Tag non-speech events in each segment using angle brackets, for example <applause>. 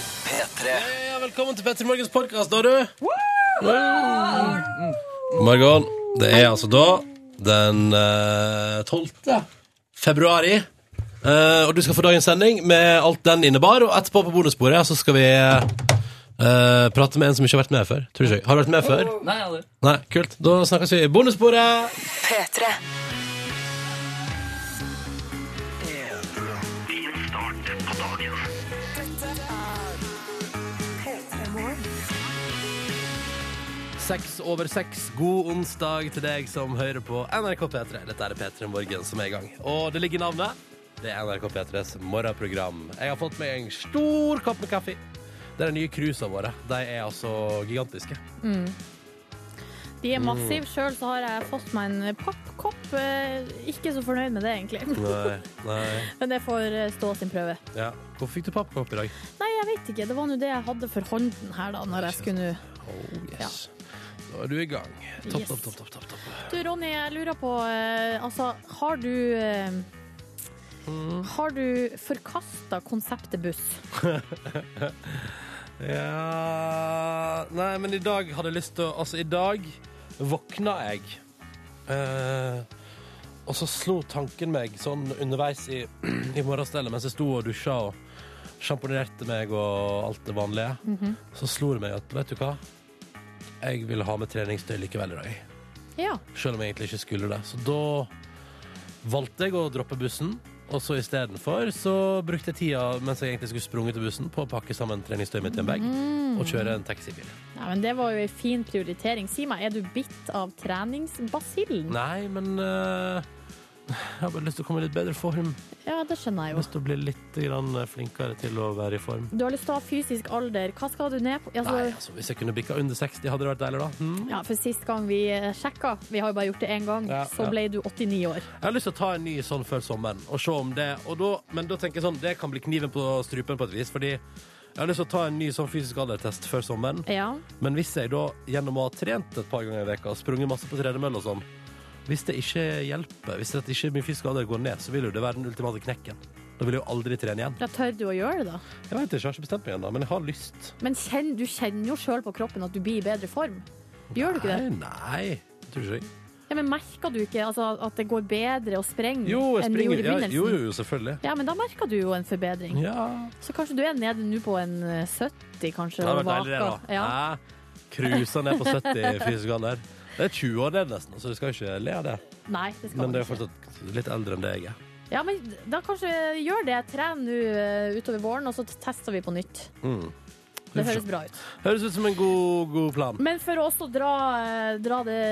P3. Ja, velkommen til Petter Morgens podkast, da, du. God morgen. Det er altså da den eh, 12. februari. Eh, og du skal få dagens sending med alt den innebar. Og etterpå på bonussporet så skal vi eh, prate med en som ikke har vært med før. Tror ikke. jeg. Har du vært med før? Nei, aldri. Nei, kult. Da snakkes vi i bonussporet. P3. Seks over seks. God onsdag til deg som hører på NRK P3. Dette er P3 Morgen som er i gang. Og det ligger i navnet. Det er NRK P3s morgenprogram. Jeg har fått meg en stor kopp med kaffe. Det er de nye cruisene våre. De er altså gigantiske. De Mm. er massive. Sjøl så har jeg fått meg en pappkopp. Eh, Ikke så fornøyd med det, egentlig. <laughs> Nei, nei. Men det får eh, stå sin prøve. Ja. Hvorfor fikk du pappkopp i dag? Nei, jeg vet ikke. Det var nå det jeg hadde for hånden her, da, når jeg skulle nå Oh, yes. Nå er du i gang. Topp, Yes. topp, topp, topp, topp, topp. Du, Ronny, jeg lurer på eh, Altså, har du eh, Mm. Har du forkasta konseptet buss? Ja Nei, men i dag hadde jeg lyst til å Altså, i dag våkna jeg. Eh, og så slo tanken meg sånn underveis i, <clears throat> i morgenstellet mens jeg sto og dusja og sjamponerte meg og alt det vanlige, så slo det meg at vet du hva, jeg vil ha med treningstøy likevel i dag. Ja. Selv om jeg egentlig ikke skulle det. Så da valgte jeg å droppe bussen. Og så istedenfor så brukte jeg tida mens jeg egentlig skulle sprunget til bussen, på å pakke sammen treningstøyet mitt i en bag og kjøre en taxibil. Nei, men det var jo ei fin prioritering. Si meg, er du bitt av treningsbasillen? Nei, men eh, jeg har bare lyst til å komme i litt bedre form. Ja, det skjønner Jeg jeg har jo. lyst til å bli litt grann flinkere til å være i form. Du har lyst til å ha fysisk alder. Hva skal du ned på? Altså, Nei, altså, Hvis jeg kunne bikka under 60, hadde det vært deilig, da. Hm? Ja, for sist gang vi eh, sjekka, vi har jo bare gjort det én gang, Ja, så ja. ble du 89 år. Jeg har lyst til å ta en ny sånn før sommeren og se om det og da, Men da tenker jeg sånn, det kan bli kniven på strupen på et vis, fordi jeg har lyst til å ta en ny sånn fysisk aldertest før sommeren. Ja. Men hvis jeg da, gjennom å ha trent et par ganger i veka, sprunget masse på tredemøll og sånn, hvis det ikke hjelper, hvis det ikke min fysiske alder går ned, så vil jo det være den ultimate knekken. Da vil jeg jo aldri trene igjen. Da tør du å gjøre det, da. Jeg vet ikke, jeg har ikke bestemt meg ennå, men jeg har lyst. Men kjenn, du kjenner jo sjøl på kroppen at du blir i bedre form. Gjør du ikke det? Nei, nei. jeg Tror ikke jeg. Ja, men merker du ikke altså, at det går bedre å sprenge Jo, jeg enn du springer. gjorde i Ja, begynnelsen? jo, jo, jo, selvfølgelig. Ja, men da merker du jo en forbedring. Ja. Så kanskje du er nede nå på en eh, 70, kanskje, Det hadde og vært deilig, det, vaker. da. Ja. Hæ? Cruisa ned på 70 i fysisk alder. Det er 20 år ned, nesten, så du skal jo ikke le av det. Nei, det skal Men det man er jo ikke. fortsatt litt eldre enn det jeg er. Ja, men da kanskje gjør det. Tren nå eh, utover våren, og så tester vi på nytt. Mm. Det høres bra ut. Høres ut som en god, god plan. Men for å også dra, eh, dra det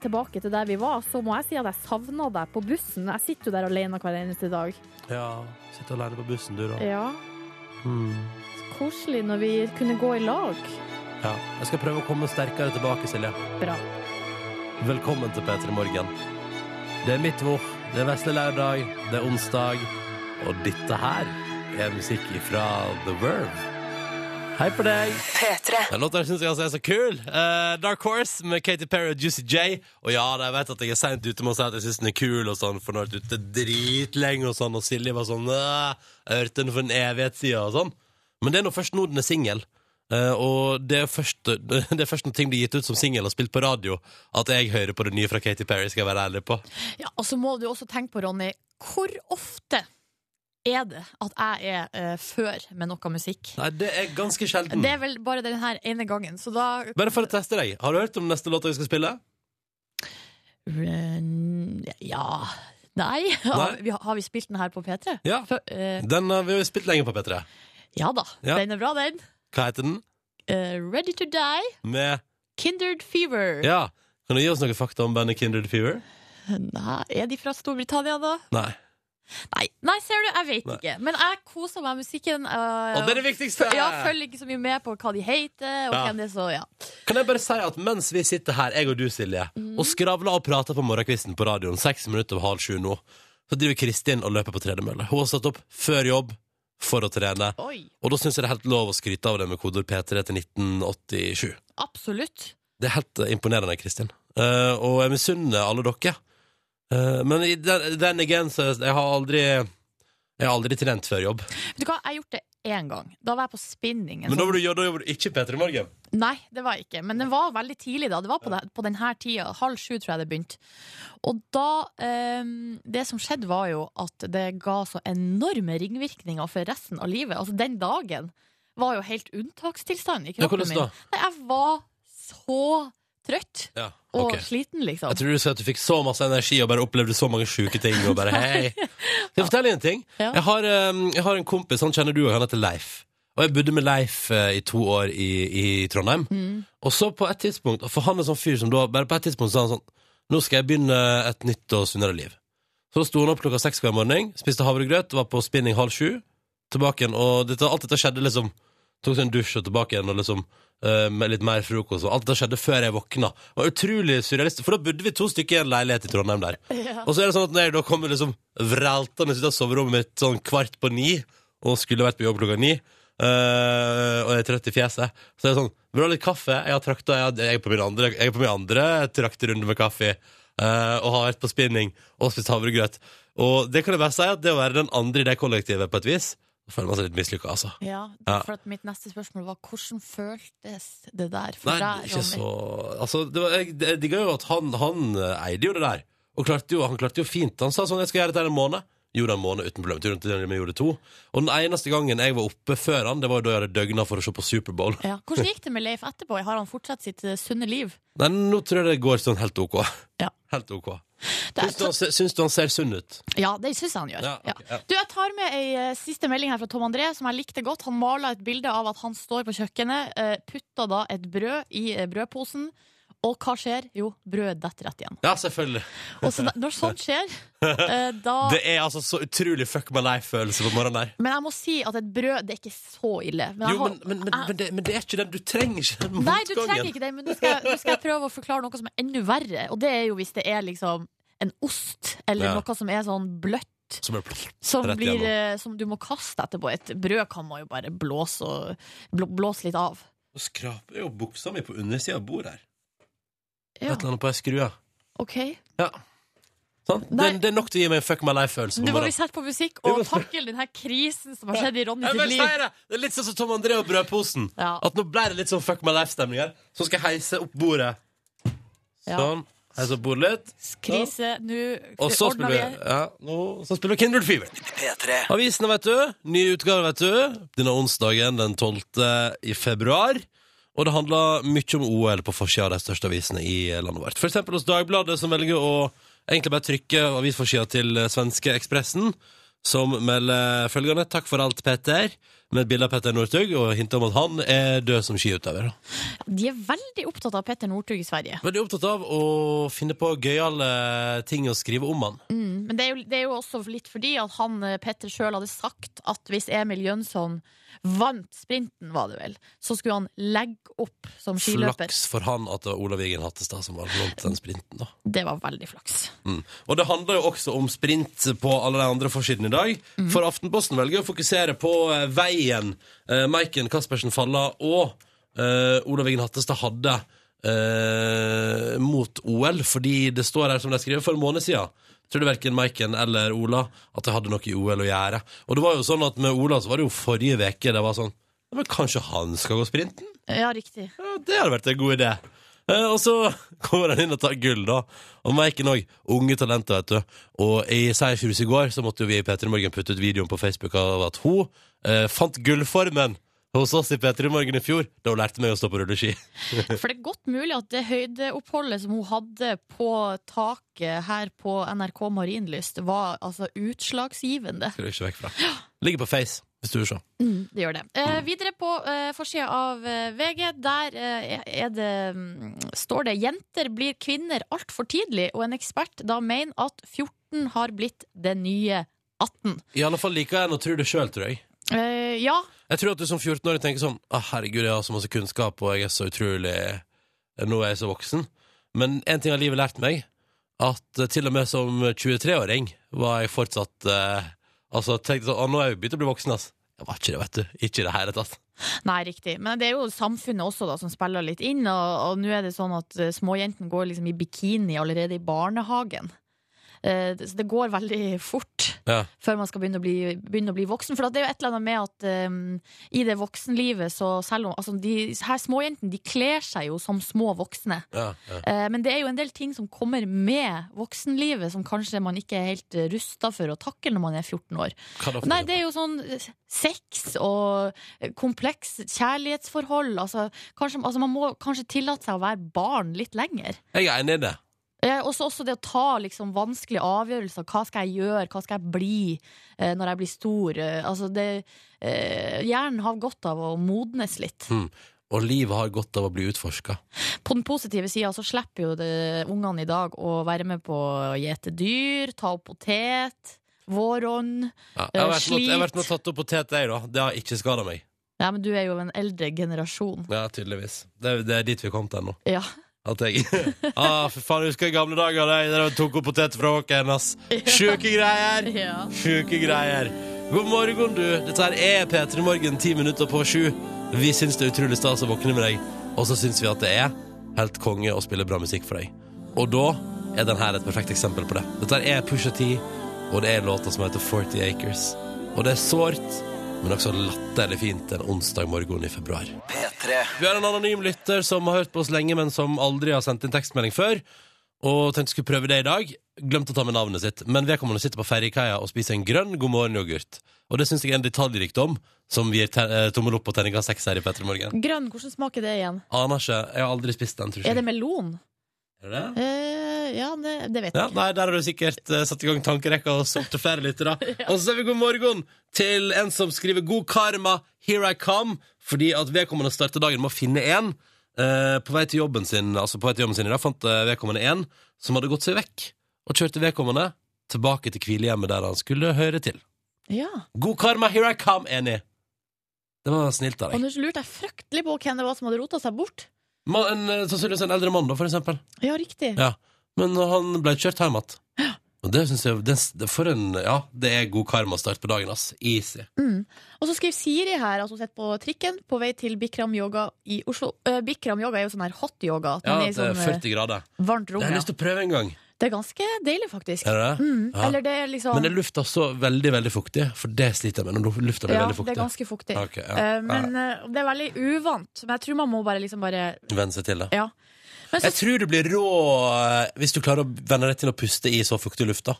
tilbake til der vi var, så må jeg si at jeg savna deg på bussen. Jeg sitter jo der alene hver eneste dag. Ja. Sitte alene på bussen, du, da. Ja. Så koselig når vi kunne gå i lag. Ja, jeg skal prøve å komme sterkere tilbake, Silje. Bra. Velkommen til P3 Morgen. Det er midtvår, det er vesle lørdag, det er onsdag, og dette her er musikk ifra The Verve. Hei på deg! P3. Den låta syns jeg altså er så kul. Eh, Dark Horse med Katy Perry og Juicy J. Og ja, da, jeg vet at jeg er seint ute med å si at jeg syns den er kul, og sånn, for den har vært ute dritlenge, og sånn, og Silje var sånn «Åh, Jeg hørte den for en evighet siden, og sånn. Men det er nå først nå den er singel. Eh, og det er, først, <laughs> det er først når ting blir gitt ut som singel og spilt på radio, at jeg hører på det nye fra Katy Perry, skal jeg være ærlig på. Ja, og så må du også tenke på, Ronny, hvor ofte er det at jeg er eh, før med noe musikk? Nei, det er ganske sjelden. Det er vel bare den her ene gangen, så da Bare for å teste deg, har du hørt om neste låta vi skal spille? Ja. Nei. <laughs> Har vi, har vi spilt den her på P3? Ja. Før- eh, Den har vi jo spilt lenge på, P3. ja da. Ja. Den er bra, den. Hva heter den? Eh, Ready to Die, Med Kindred Fever. Ja. Kan du gi oss noen fakta om bandet Kindred Fever? Nei, er de fra Storbritannia, da? Nei. Nei, Nei ser du, jeg vet Nei. ikke. Men jeg koser meg med musikken. eh, Og det er det viktigste! Ja, følger ikke så mye med på hva de heter, og Ja. hvem det er, så ja. Kan jeg bare si at mens vi sitter her, jeg og du, Silje, og skravler og prater på morgenkvisten på radioen, seks minutter over halv sju nå, så driver Kristin og løper på tredemølle. Hun har stått opp før jobb for å trene, Oi, og da syns jeg det er helt lov å skryte av det med kodord P3 til 1987. absolutt. Det er helt eh, imponerende, Kristin. Eh, og jeg misunner alle dere. Eh, men i den, den again, så jeg har aldri Jeg har aldri trent før jobb. Vet du hva, jeg har gjort det én gang. Da var jeg på spinning. en Men da sånn- var du, ja, da var du ikke P3 Morgen. Nei, det var jeg ikke. Men det var veldig tidlig da. Det var på, det, på denne tida. Halv sju tror jeg det begynte. Og da ehm, Det som skjedde, var jo at det ga så enorme ringvirkninger for resten av livet. Altså, den dagen var jo helt unntakstilstand i Ja, kroppen hvordan min. da? Nei, jeg var så trøtt Ja, og ok. sliten, liksom. Jeg tror du sa at du fikk så masse energi og bare opplevde så mange sjuke ting. Og <laughs> bare, hei Skal jeg fortelle en ting? Ja. Jeg, har, um, jeg har en kompis, han kjenner du og han heter Leif. Og jeg bodde med Leif eh, i to år i, i Trondheim. Mm. Og så på et tidspunkt, og for han er sånn fyr som da, bare på et tidspunkt sa han sånn Nå skal jeg begynne et nytt og sunnere liv. Så da sto han opp klokka seks hver morgen, spiste havregrøt, var på spinning halv sju. Tilbake igjen, og dette, alt dette skjedde liksom Tok seg en dusj og tilbake igjen, og liksom eh, med litt mer frokost. Og alt dette skjedde før jeg våkna. Det var utrolig surrealistisk, for da bodde vi to stykker i en leilighet i Trondheim der. Og så er det sånn at når jeg da kommer liksom vraltende ut av soverommet mitt sånn kvart på ni, og skulle vært på jobb klokka ni, eh, og jeg er trøtt i fjeset, så er det sånn Vil du ha litt kaffe? Jeg har trakta, jeg, har- jeg er på min andre, jeg er på min andre trakterunde med kaffe, eh, og har vært på spinning og spist havregrøt. Og det kan jeg bare si at det å være den andre i det kollektivet på et vis, da føler man seg litt mislykka, altså. Ja, Ja. for at mitt neste spørsmål var hvordan føltes det der for Nei, deg, ikke Ronny? så Altså, det var, jeg, jeg digga jo at han, han eh, eide jo det der. Og klarte jo, han klarte jo fint. Han sa sånn 'Jeg skal gjøre dette her en måned'. Gjorde en måned uten problem. Turen til den vi gjorde to. Og den eneste gangen jeg var oppe før han, det var jo da jeg hadde døgna for å se på Superbowl. Ja. Hvordan gikk det med Leif etterpå? Har han fortsatt sitt eh, sunne liv? Nei, nå tror jeg det går sånn helt OK. Ja. Helt OK. Det er- Syns du, han, se- syns du han ser sunn ut? Ja, det syns jeg han gjør. Ja, ok, ja. Du, Jeg tar med ei eh, siste melding her fra Tom André, som jeg likte godt. Han maler et bilde av at han står på kjøkkenet, eh, putter da et brød i eh, brødposen, og hva skjer? Jo, brødet detter rett igjen. Ja, selvfølgelig. Og så da, Når sånt skjer, eh, da <laughs> Det er altså så utrolig fuck my life-følelse på morgenen der. Men jeg må si at et brød, det er ikke så ille. Men jeg Jo, har- men, men, men, men, det, men det er ikke den du trenger. Ikke den Ah. Nei, du motgangen. trenger ikke det, men nå skal, jeg, nå skal jeg prøve å forklare noe som er enda verre. Og det er jo hvis det er liksom en ost, eller Ja. noe som er sånn bløtt, Som er som, Rett blir, igjennom. eh, som du må kaste etterpå. Et brød kan man jo bare blåse, og, blå, blåse litt av. Nå skraper jeg jo buksa mi på undersida av bordet her. Ja. Et eller annet på ei skrue. OK. Ja. Sånn? Det, Nei. det er nok til å gi meg en fuck my life-følelse. Nå på må vi morgenen. sette på musikk Vi og må- takle den her krisen som har skjedd i Ronny Jeg sitt vil liv. si det! det er litt sånn som Tom André og Brødposen. Ja. At nå ble det litt sånn fuck my life-stemning her. Så skal jeg heise opp bordet. Ja. Sånn. Heise opp bordet litt. Krise, nå Og så ordner spiller vi, vi ja, nå, så spiller vi Kindred Fever. Avisene, vet du. Ny utgave, vet du. Denne onsdagen den 12. i februar. Og det handler mye om OL på forsida av de største avisene i landet vårt. For eksempel hos Dagbladet, som velger å egentlig bare trykke avisforsida til eh, svenske Ekspressen, som melder følgende 'Takk for alt, Petter', med et bilde av Petter Northug, og hinter om at han er død som skiutøver. da. De er veldig opptatt av Petter Northug i Sverige. Veldig opptatt av å finne på gøyale ting å skrive om han. Mm, Men det er, jo, det er jo også litt fordi at han eh, Petter sjøl hadde sagt at hvis Emil Jønsson vant sprinten, var det vel, så skulle han legge opp som skiløper. Flaks for han at det var Olav Vigen Hattestad som var blant den sprinten, da. Det var veldig flaks. Mm. Og det handler jo også om sprint på alle de andre forsidene i dag. For Aftenposten velger å fokusere på eh, veien eh, Maiken Caspersen Falla og eh, Olav Vigen Hattestad hadde eh, mot OL, fordi det står her som de skrev for en måned siden. Tror du verken Maiken eller Ola at det hadde noe i OL å gjøre. Og det var jo sånn at med Ola så var det jo forrige veke det var sånn «Ja, Men kanskje han skal gå sprinten? Ja, riktig. Ja, det hadde vært en god idé. Eh, og så <laughs> kommer han inn og tar gull, da. Og Maiken òg. Unge talenter, vet du. Og i Seiersrus i går så måtte jo vi i P3 Morgen putte ut videoen på Facebook av at hun eh, fant gullformen hos oss i P3 Morgen i fjor, da hun lærte meg å stå på rulleski. <laughs> For det er godt mulig at det høydeoppholdet som hun hadde på taket her på NRK Marienlyst, var altså utslagsgivende. Skal du ikke vekk fra. Ligger på Face, hvis du vil se. Det gjør det. Eh, videre på eh, forsida av eh, VG, der eh, er det, mm, står det 'Jenter blir kvinner altfor tidlig', og en ekspert da mener at 14 har blitt det nye 18. I alle fall liker jeg henne og tror det sjøl, tror jeg. Eh, ja, Jeg tror at du som 14-åring tenker sånn Å herregud, jeg har så masse kunnskap Og jeg er så utrolig eh, Nå er jeg så voksen Men en ting har livet lært meg At eh, til og med som 23-åring Var jeg fortsatt eh, Altså tenkte sånn «Å, Nå er jeg begynt å bli voksen ass Jeg var ikke det, vet du Ikke i det hele tatt nei, riktig. Men det er jo samfunnet også da som spiller litt inn, og, og nå er det sånn at eh, småjentene går liksom i bikini allerede i barnehagen. eh, det- så det går veldig fort Ja. før man skal begynne å bli, begynne å bli voksen. For at det er jo et eller annet med at eh, i det voksenlivet, så selv om altså, de her småjentene de kler seg jo som små voksne. Ja, ja. Eh, Men det er jo en del ting som kommer med voksenlivet, som kanskje man ikke er helt rusta for å takle når man er 14 år. Hva da for Nei, noe? det er jo sånn eh, sex og eh, kompleks kjærlighetsforhold. Altså, kanskje, altså man må kanskje tillate seg å være barn litt lenger. Jeg er enig i det. Eh, Også, også det å ta liksom, vanskelige avgjørelser. Hva skal jeg gjøre? Hva skal jeg bli eh, når jeg blir stor? Eh, Altså, det, eh, hjernen har godt av å modnes litt. Og livet har godt av å bli utforska. På den positive sida så slipper jo det, ungene i dag å være med på å gjete dyr, ta opp potet, våronna. Ja. Jeg har vært nå- Slit. jeg har vært nå tatt opp potet, jeg, da. Det har ikke skada meg. Ja, men du er jo en eldre generasjon. Ja, tydeligvis. Det, er- det er dit vi kom til nå. Ja. At jeg <laughs> ah, For faen, jeg husker i gamle dager da jeg da jeg tok opp poteter fra åkeren, ass. Sjuke greier! Sjuke greier. God morgen, du. Dette her er P3 Morgen, ti minutter på sju. Vi syns det er utrolig stas å våkne med deg, og så syns vi at det er helt konge å spille bra musikk for deg. Og da er den her et perfekt eksempel på det. Dette her er Pusha T, og det er låta som heter 40 Acres. Og det er sårt, men også latterlig fint en onsdag morgen i februar. Vi har en anonym lytter som har hørt på oss lenge, men som aldri har sendt inn tekstmelding før. Og tenkte skulle prøve det i dag. Glemte å ta med navnet sitt. Men vedkommende sitter på ferjekaia og spiser en grønn god morgen-yoghurt. Og det syns jeg er en detaljrikdom som gir te eh, tommel opp på terninga seks her i P3 Morgen. Grønn, hvordan smaker det igjen? Aner ikke. Jeg har aldri spist den, tror Er det jeg. melon? Er det? Eh, ja, det, det vet Ja, jeg ikke. nei, Der har du sikkert eh, satt i gang tankerekka og solgt til flere <laughs> lyttere. Og så sier vi god morgen til en som skriver 'God karma, here I come', fordi at vedkommende starter dagen med å finne en. eh, på vei til jobben sin Altså på vei til jobben sin i dag fant eh, vedkommende en som hadde gått seg vekk, og kjørte vedkommende tilbake til hvilehjemmet der han skulle høre til. Ja. God karma, here I come, enig. Det var snilt av Og deg. nå lurte jeg fryktelig på hvem det var som hadde rota seg bort. Ma- En, eh, sannsynligvis en eldre mann, da, for eksempel. Ja, riktig. Ja, men han ble kjørt hjem igjen. Og det synes jeg det, det- For en Ja, det er god karmastart på dagen, ass. Easy. Mm. Og så skriver Siri her at hun sitter på trikken på vei til Bikram yoga i Oslo. Eh, Bikram yoga er jo sånn her hot yoga. At Ja, man er det i er sånn eh, 40 grader. varmt Det rom. har jeg Ja. lyst til å prøve en gang. Det er ganske deilig, faktisk. Er det det? Mm. Ja. Eller det er liksom Men er lufta så veldig, veldig fuktig? For det sliter jeg med når lufta blir ja, veldig det er fuktig. ganske fuktig. Ok, ja. Eh, men eh, det er veldig uvant. Men jeg tror man må bare liksom bare Venne seg til det. Ja. Men, Jeg så, tror du blir rå eh, hvis du klarer å venne deg til å puste i så fuktig luft, da.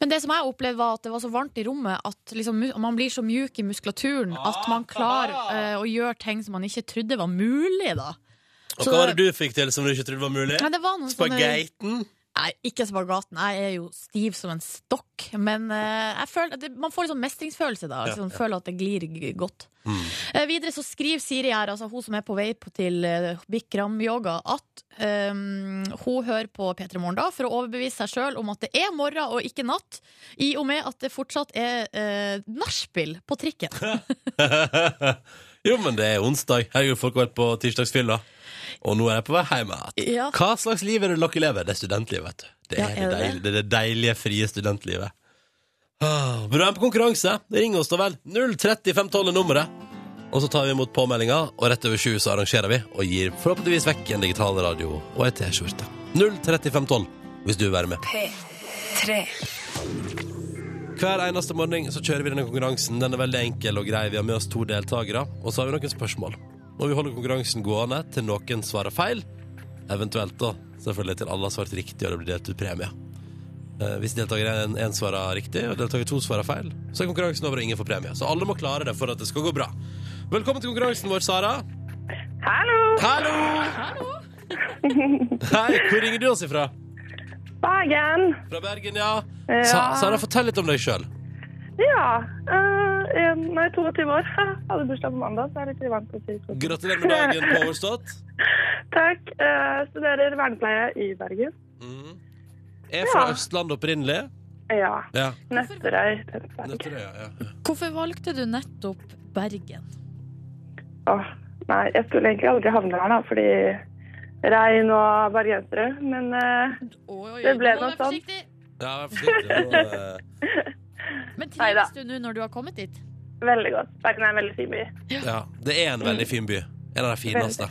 men det som jeg opplevde, var at det var så varmt i rommet at liksom, mu- man blir så mjuk i muskulaturen at Ah, man klarer eh, å gjøre ting som man ikke trodde var mulig, da. Og Så hva var det- det du fikk til som du ikke trodde var mulig? Men det var sånn, eh, noen sånne Spageiten? Nei, ikke spagaten. Jeg er jo stiv som en stokk. Men eh, jeg føler, at det, man får litt sånn mestringsfølelse da. Ja, Mm. Liksom, Føler at det glir g- godt. Eh, videre så skriver Siri her, altså hun som er på vei på til eh, Bikram yoga, at eh, hun hører på P3 Morgen da for å overbevise seg sjøl om at det er morgen og ikke natt, i og med at det fortsatt er uh, nachspiel på trikken. <laughs> jo, men det er onsdag. Herregud, folk har vært på tirsdagsfylla. Og nå er jeg på vei hjem igjen. Ja. Hva slags liv er det dere lever? Det er studentlivet, vet du. Det Ja, er, er det, det deilige, det, er det deilige, frie studentlivet. Ah, vil du være med på konkurranse? Ring oss da vel. 03512 er nummeret. Og så tar vi imot påmeldinga, og rett over sju så arrangerer vi og gir forhåpentligvis vekk en digital radio og ei T-skjorte. 03512 hvis du vil være med. Hver eneste morgen så kjører vi denne konkurransen. Den er veldig enkel og grei. Vi har med oss to deltakere, og så har vi noen spørsmål. Og vi holder konkurransen gående til noen svarer feil. Eventuelt da, selvfølgelig til alle har svart riktig og det blir delt ut premie. Eh, hvis deltaker én svarer riktig og deltaker to svarer feil, så er konkurransen over og ingen får premie. Så alle må klare det for at det skal gå bra. Velkommen til konkurransen vår, Sara. Hallo! Hallo! Hei, hvor ringer du oss ifra? Bergen! Fra Bergen, ja. Ja. Sa Sara, fortell litt om deg sjøl. Ja. eh, en- nei, 22 år. Hadde bursdag på mandag, så jeg er litt vant til å si sånn. Gratulerer med dagen påstått. Takk. Eh, studerer vernepleie i Bergen. Mm. Er fra Ja. Østlandet opprinnelig. Ja. Ja. Nøtterøy. Tønsberg. Nøtterøy, ja. ja. Hvorfor valgte du nettopp Bergen? Åh, nei, jeg skulle egentlig aldri havne her, da, fordi regn og bergensere. Men eh, Oi, oi, Det ble noe nå må du være sånn. forsiktig. ja vær forsiktig. Nå, <laughs> eh, Men Neida. trives du nå når du har kommet dit? veldig godt. Bergen er en veldig fin by. Ja. Det er en veldig fin by. En av de fineste.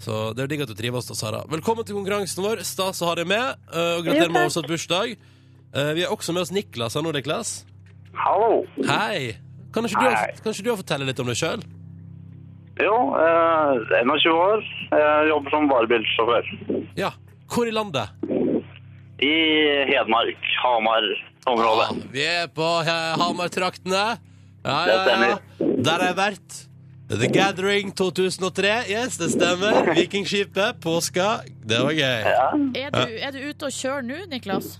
Så det er jo digg at du trives da, Sara. Velkommen til konkurransen vår. Stas å ha deg med. eh, Og gratulerer med Jo, overstått bursdag. Eh, Vi har også med oss Niklas. Hallo, Niklas. Hallo. Hei. Kan ikke du, Hei. kan ikke du fortelle litt om deg sjøl? Jo, eh, 21 år. Eh, jobber som varebilsjåfør. Ja. Hvor i landet? I Hedmark, Hamar-området. Ja, vi er på eh, Hamar-traktene. Ja, Det ja, ja. stemmer. Der har jeg vært. The Gathering 2003. Yes, det <laughs> stemmer. Vikingskipet, påska. Det var gøy. Ja. Er du, er du ute og kjører nå, Niklas?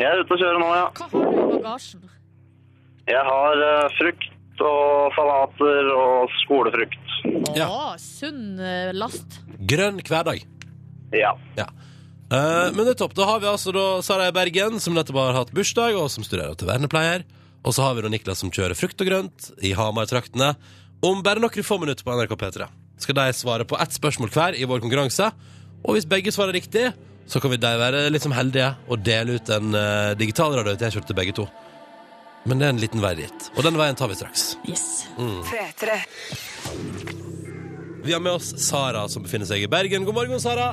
Jeg er ute og kjører nå, ja. Hva har du i bagasjen? Jeg har eh, frukt og salater og skolefrukt. Ja. Å, sunn eh, last. Grønn hverdag. Ja. Ja. Eh, men det er topp. Da har vi altså da Sara i Bergen, som nettopp har hatt bursdag, og som studerer til vernepleier. Og så har vi da Niklas, som kjører frukt og grønt i Hamar-traktene. Om bare noen få minutter på NRK P3 skal de svare på ett spørsmål hver i vår konkurranse. Og hvis begge svarer riktig, så kan vi de være litt som heldige og dele ut en eh, digital radio til jeg kjørte til begge to. Men det er en liten vei dit, og den veien tar vi straks. Yes. Vi har med oss Sara, som befinner seg i Bergen. God morgen, Sara.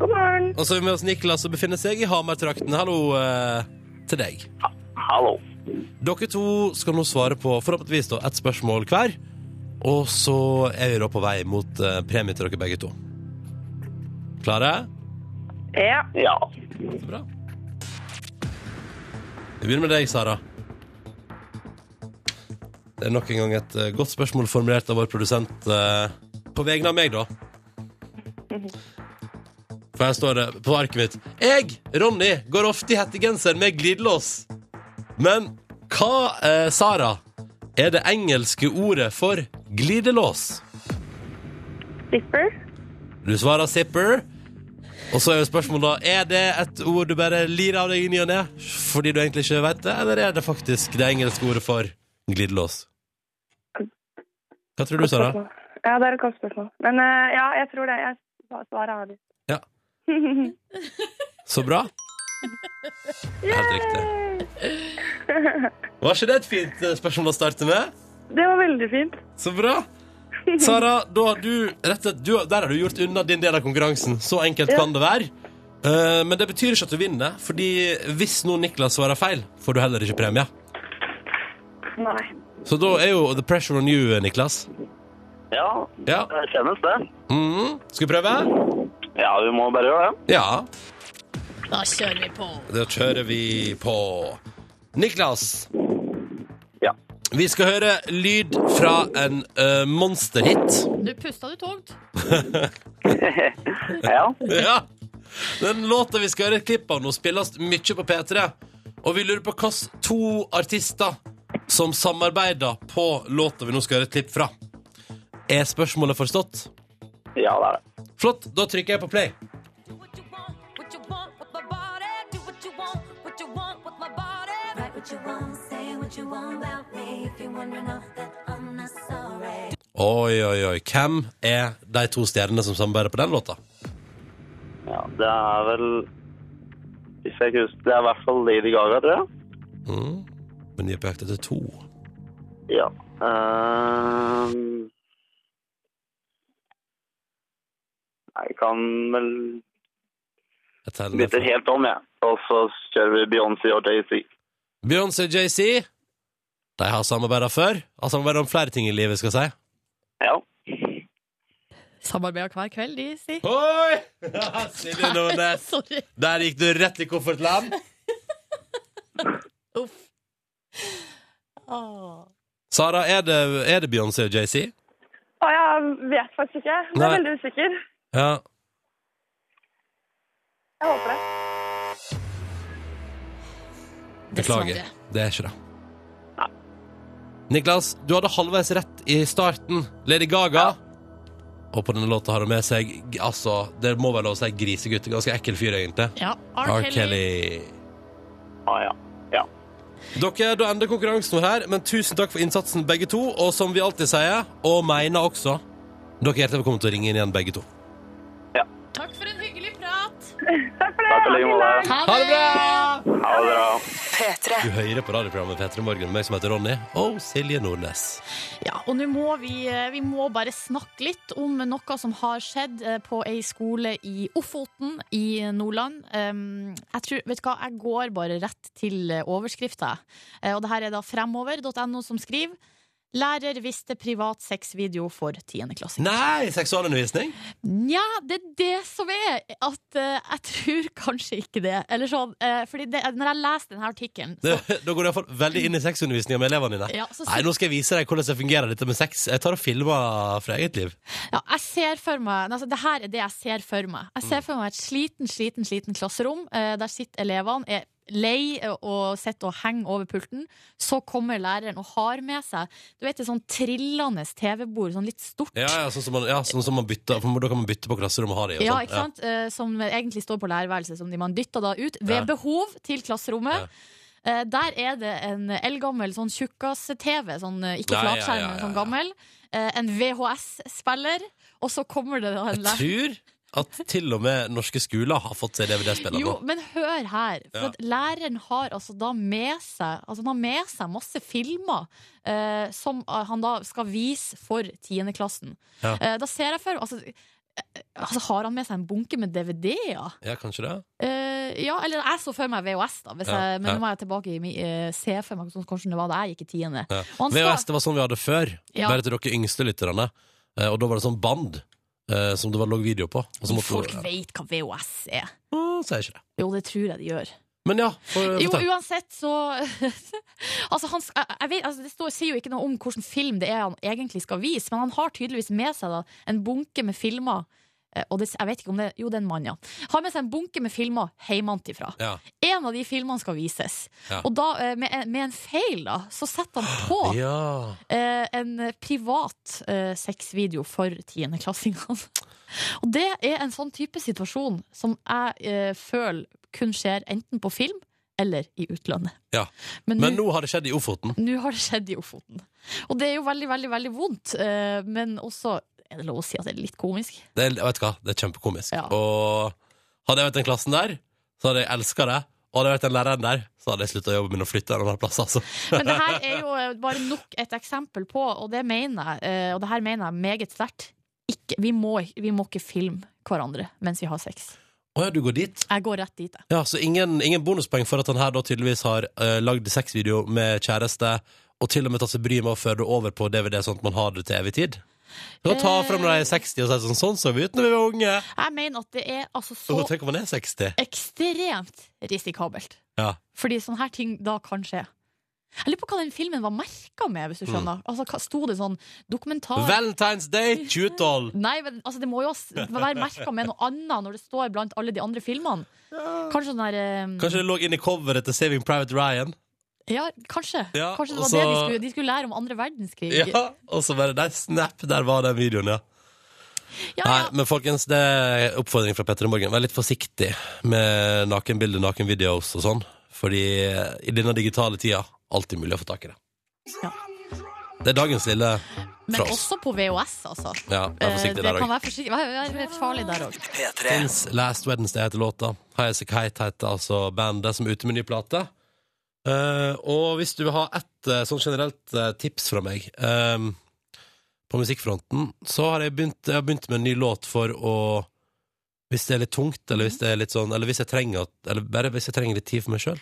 God morgen. Og så har vi med oss Niklas, som befinner seg i Hamar-traktene. Hallo eh, til deg. Hallo. Dere to skal nå svare på forhåpentligvis da, ett spørsmål hver. Og så er vi da på vei mot eh, premie til dere begge to. Klare? Ja. Ja. Så bra. Vi begynner med deg, Sara. Det er nok en gang et eh, godt spørsmål formulert av vår produsent eh, på vegne av meg, da. For her står det på arket mitt Jeg, Ronny, går ofte i hettegenser med glidelås. Men hva, eh, Sara, er det engelske ordet for glidelås? Slipper. Du svarer zipper. Og så er jo spørsmålet da Er det et ord du bare lir av deg i ny og ne fordi du egentlig ikke vet det, eller er det faktisk det engelske ordet for glidelås? Hva tror du, Sara? Spørsmål. Ja, det er et godt spørsmål. Men eh, ja, jeg tror det. Jeg svarer avgitt. Ja. Så bra. Helt riktig. Var ikke det et fint eh, spørsmål å starte med? Det var veldig fint. Så bra. Sara, da har du, rett og slett- du, der har du gjort unna din del av konkurransen. Så enkelt kan det være. Eh, men det betyr ikke at du vinner, Fordi hvis nå Niklas svarer feil, får du heller ikke premie. Nei. Så da er jo the pressure on you, Niklas. Ja, Ja. det kjennes det. Mhm. Skal vi prøve? Ja, vi må bare gjøre det. Ja. Da kjører vi på. Da kjører vi på. Niklas, Ja. vi skal høre lyd fra en eh, monsterhit. Nå pusta du tungt. ja. <laughs> Ja. Den låta vi skal høre et klipp av nå, spilles mye på P3. Og vi lurer på hvilke to artister som samarbeider på låta vi nå skal høre et klipp fra. Er spørsmålet forstått? Ja, det er det. Flott, da trykker jeg på play. what you want, what you want with my body. Do what you want, what you want with my body. Write what you want, say what you want about me. If you're wondering all that, I'm not sorry. Oi, oi, oi. Hvem er de to stjernene som samarbeider på den låta? Ja, det er vel Hvis jeg ikke husker Det er i hvert fall Lady Gaga, tror jeg. Mm. Men de er på jakt etter to. Ja. ehm. jeg kan vel Jeg teller ned bytte fra- helt om, jeg. Og så kjører vi Beyoncé og Jay-Z. Beyoncé og JC. De har samarbeidet før. Har samarbeidet om flere ting i livet, skal jeg si. Ja. Samarbeider hver kveld, de, si. <laughs> Oi! <laughs> Silje Nordnes. Sorry. Der gikk du rett i koffertland. Uff. Åh. Sara, er det, er det Beyoncé og JC? Å, jeg vet faktisk ikke. Jeg er Nei. veldig usikker. Ja. Jeg håper det. Beklager. Dessverre. Det er ikke det. Niklas, du hadde halvveis rett i starten. Lady Gaga. Og på denne låta har hun med seg g- Altså, det må være lov å si grisegutt. Ganske ekkel fyr, egentlig. Ja, R. R. Kelly. Kelly. Ah, ja. ja. Dere, Da ender konkurransen vår her, men tusen takk for innsatsen, begge to. Og som vi alltid sier, og mener også, dere er hjertelig velkommen til å ringe inn igjen, begge to. Takk for en hyggelig prat. Takk i like måte. Ha det bra! Ha det bra. Du hører på radioprogrammet Petre Morgen med meg som heter Ronny, og Silje Nordnes. Ja, og nå må vi, eh, vi må bare snakke litt om noe som har skjedd eh, på ei skole i Ofoten i Nordland. Um, Jeg tror, vet du hva, jeg går bare rett til eh, overskrifta. Eh, Og det her er da fremover.no som skriver Lærer visste privat sexvideo for tiendeklassing. Nei, seksualundervisning? Nja, det er det som er at eh, jeg tror <laughs> kanskje ikke det. Eller sånn, eh, fordi det, når jeg leser denne artikkelen Det, da går du iallfall veldig inn i sexundervisninga med elevene dine. ja, så Nei, nå skal jeg vise deg hvordan det fungerer dette med sex. Jeg tar og filmer fra eget liv. Ja, jeg ser for meg altså, Det her er det jeg ser for meg. Jeg Mm. ser for meg et sliten, sliten, sliten klasserom. eh, der sitter elevene, er lei eh, og sitter og henger over pulten. Så kommer læreren og har med seg Du vet, et sånn trillende TV-bord, sånn litt stort. Ja, ja, sånn som man, ja, sånn som man bytter for Da kan man bytte på klasserommet og ha det. og Ja, sånn. ikke sant? Eh, Som egentlig står på lærerværelset, som de man dytter da ut ved Ja. behov til klasserommet. Ja. Eh, Der er det en eldgammel sånn tjukkas-TV, sånn, eh, ikke Ja, ja, flatskjerm, ja, men ja, sånn ja. gammel. Eh, En VHS-spiller, og så kommer det da en Jeg tror at til og med norske skoler har fått seg DVD-spiller nå. Jo, men hør her. For Ja. at læreren har altså da med seg Altså han har med seg masse filmer eh, som eh, han da skal vise for tiendeklassen. Ja. Eh, da ser jeg for altså, eh, altså, har han med seg en bunke med DVD-er? Ja, kanskje det? Eh, ja, eller jeg så for meg VHS, da. Hvis Ja, jeg, men ja. nå må jeg tilbake i mi- eh, se for meg sånn, hvordan det var da jeg gikk i tiende. Ja. Og han skal- VHS det var sånn vi hadde før, Ja. bare til dere yngste lytterne. Eh, Og da var det sånn band eh, som det var lå video på. Og så måtte Folk ja. vet hva VHS er. Å, sier jeg ikke det. Jo, det tror jeg de gjør. Men ja, for, Jo, fortell. uansett så <laughs> Altså, han, sk- jeg, jeg vet, altså det står, sier jo ikke noe om hvilken film det er han egentlig skal vise, men han har tydeligvis med seg da, en bunke med filmer. eh, Og det, jeg vet ikke om det Jo, det er en mann, ja. Har med seg en bunke med filmer hjemmefra. Ja. En av de filmene skal vises. Ja. Ah, Og da, eh, med, en- med en feil, da, så setter han på ja. eh, en privat eh, sexvideo for tiendeklassingene. <laughs> Og det er en sånn type situasjon som jeg eh, føler kun skjer enten på film eller i utlandet. Ja. Men Men nå nå har det skjedd i Ofoten. nå har det skjedd i Ofoten. Og det er jo veldig, veldig veldig vondt, eh, men også er det lov å si at det er litt komisk? Det er, vet du hva, det er kjempekomisk. Ja. Og hadde jeg vært den klassen der, så hadde jeg elska det. Og hadde jeg vært den læreren der, så hadde jeg slutta jobben min og flytta en annen plass. Altså. Men det her er jo eh, bare nok et eksempel på, og det mener jeg, eh, og det her mener jeg meget sterkt, ikke, vi, må, vi må ikke filme hverandre mens vi har sex. Å ja, du går dit? Jeg går rett dit, jeg. Ja, Så ingen, ingen bonuspoeng for at han her da tydeligvis har uh, lagd sexvideo med kjæreste, og til og med tatt seg bryet med å føre det over på DVD, sånn at man har det til evig tid. Du kan ta Eh. fram når de er 60 og si sånn Sånn så vi ut når vi var unge! Jeg mener at det er altså så Og tenk om man er 60. ekstremt risikabelt. Ja. Fordi sånne her ting da kan skje. Jeg lurer på hva den filmen var merka med, hvis du skjønner. Mm. Altså, hva- Sto det sånn dokumentar Valentine's Day 2012! Nei, men altså, det må jo s- være merka med noe annet når det står blant alle de andre filmene. Kanskje sånn der eh, Kanskje det lå inni coveret til Saving Private Ryan? Ja, kanskje. Ja, kanskje det var og det de så- skulle, de skulle lære om andre verdenskrig. Ja, Og så bare der, snap, der var den videoen, ja. ja, Nei, ja. men folkens, det er oppfordring fra Petter i morgen. Vær litt forsiktig med nakenbilder, nakenvideoer og sånn. Fordi i denne digitale tida, alltid mulig å få tak i det. Ja. Det er dagens lille Men fra oss. også på VHS, altså. Ja, Eh, vær det forsiktig der kan òg. være, forsiktig, være være farlig der òg. Fins Last Wednesday heter låta. Highasakite heter altså bandet som er ute med ny plate. Eh, og hvis du vil ha ett eh, sånn generelt eh, tips fra meg eh, på musikkfronten, så har jeg begynt, jeg har begynt med en ny låt for å Hvis det er litt tungt, eller hvis det er litt sånn Eller hvis jeg trenger, at- eller bare hvis jeg trenger litt tid for meg sjøl,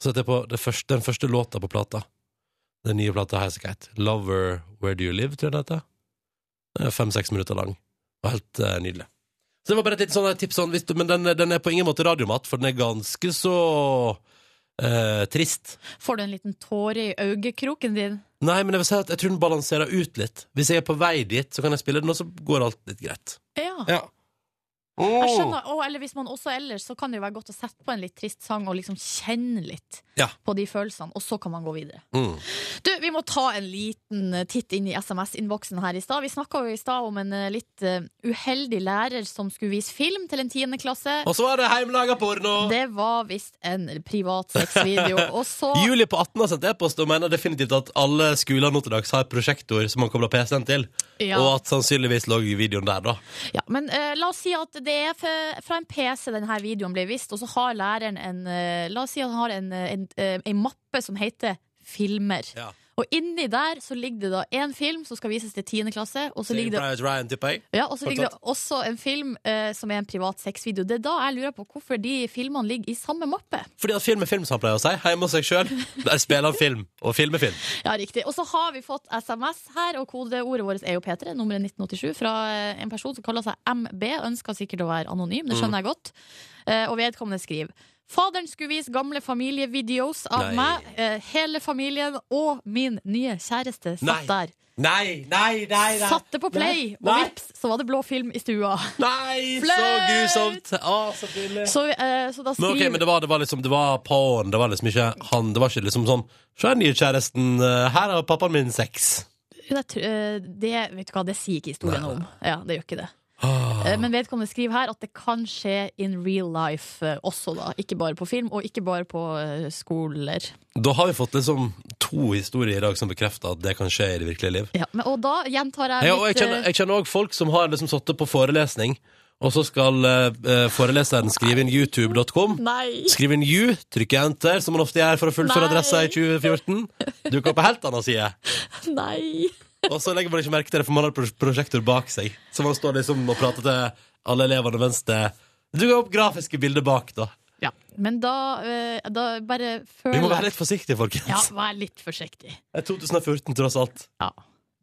så setter jeg på det første, den første låta på plata. Den nye plata Highasakite. 'Lover Where Do You Live', tror jeg det heter. Den er Fem-seks minutter lang. Og helt eh, nydelig. Så det var bare et lite sånn tips sånn, hvis du, Men den, den er på ingen måte radiomat, for den er ganske så eh, trist. Får du en liten tåre i øyekroken din? Nei, men jeg vil si at jeg tror den balanserer ut litt. Hvis jeg er på vei dit, så kan jeg spille den, og så går alt litt greit. Ja. Ja. Jeg skjønner, og, eller hvis man også ellers Så kan det jo være godt å sette på en litt trist sang Og liksom kjenne litt Ja. på de følelsene Og så kan man gå videre Mm. Du, vi må ta en liten eh, titt inn i sms-inboksen her i stad Vi snakket jo i stad om en eh, litt eh, uheldig lærer Som skulle vise film til en tiende klasse Og så er det heimelaga porno! Det var visst en privat sexvideo <laughs> Og så Julie på 18 har sendt e-post og mener definitivt at alle skoler nå til dags har prosjektor som man kobler PC-en til. Ja. Og at sannsynligvis lå videoen der, da. Ja, men eh, la oss si at det er fra, fra en PC denne videoen blir vist, og så har læreren en eh, La oss si at han har en, eh, en, eh, en mappe som heter filmer. Ja. Og inni der så ligger det da én film som skal vises til 10. klasse, og så ligger det, Private Ryan, tipper jeg. ja, og så ligger det fortsatt. også en film eh, som er en privat sexvideo. Det er da jeg lurer på hvorfor de filmene ligger i samme mappe. Fordi at film er film, som han pleier å si. Hjemme hos seg sjøl. Der spiller han film, og film er film. Ja, riktig. Og så har vi fått SMS her, og kodeordet vårt er jo P3, nummeret 1987, fra eh, en person som kaller seg MB. Ønsker sikkert å være anonym, det Mm. skjønner jeg godt. Eh, Og vedkommende skriver Faderen skulle vise gamle familievideos av Nei. meg, eh, hele familien og min nye kjæreste satt Nei. der. Nei, nei, nei! nei. Satte på play, Nei. og vips, så var det blå film i stua. <laughs> Nei, så Flaut! grusomt! Å, så pinlig. Så, eh, så da Men skriver ok, men det var, det var liksom Det var på'n. Det var liksom ikke han. Det var ikke liksom sånn Se den nye kjæresten. eh, Her har pappaen min sex. <gasps> det, tr- eh, det, vet du hva, det sier ikke historien Nei, om. Ja, det gjør ikke det. Ah. Eh, Men vedkommende skriver her at det kan skje in real life eh, også, da. Ikke bare på film, og ikke bare på eh, skoler. Da har vi fått liksom to historier i dag som bekrefter at det kan skje i det virkelige liv. Ja, men, og da gjentar Ja, jeg og jeg mitt kjenner- eh, jeg kjenner òg folk som har liksom sittet på forelesning, og så skal eh, eh, foreleseren skrive inn youtube.com. <laughs> Nei! Skrive inn you, trykke enter, som man ofte gjør for å fullføre Nei. adressa i 2014. Dukker opp på helt annen side. Nei! Og så legger man ikke merke til det, for man har pro- prosjektor bak seg. Så man står liksom og prater til alle elevene mens det dukker opp grafiske bilder bak, da. Ja, men da, eh, da bare føler Vi må være litt forsiktige, folkens. Ja, vær litt forsiktig. Det er 2014, tross alt. Ja,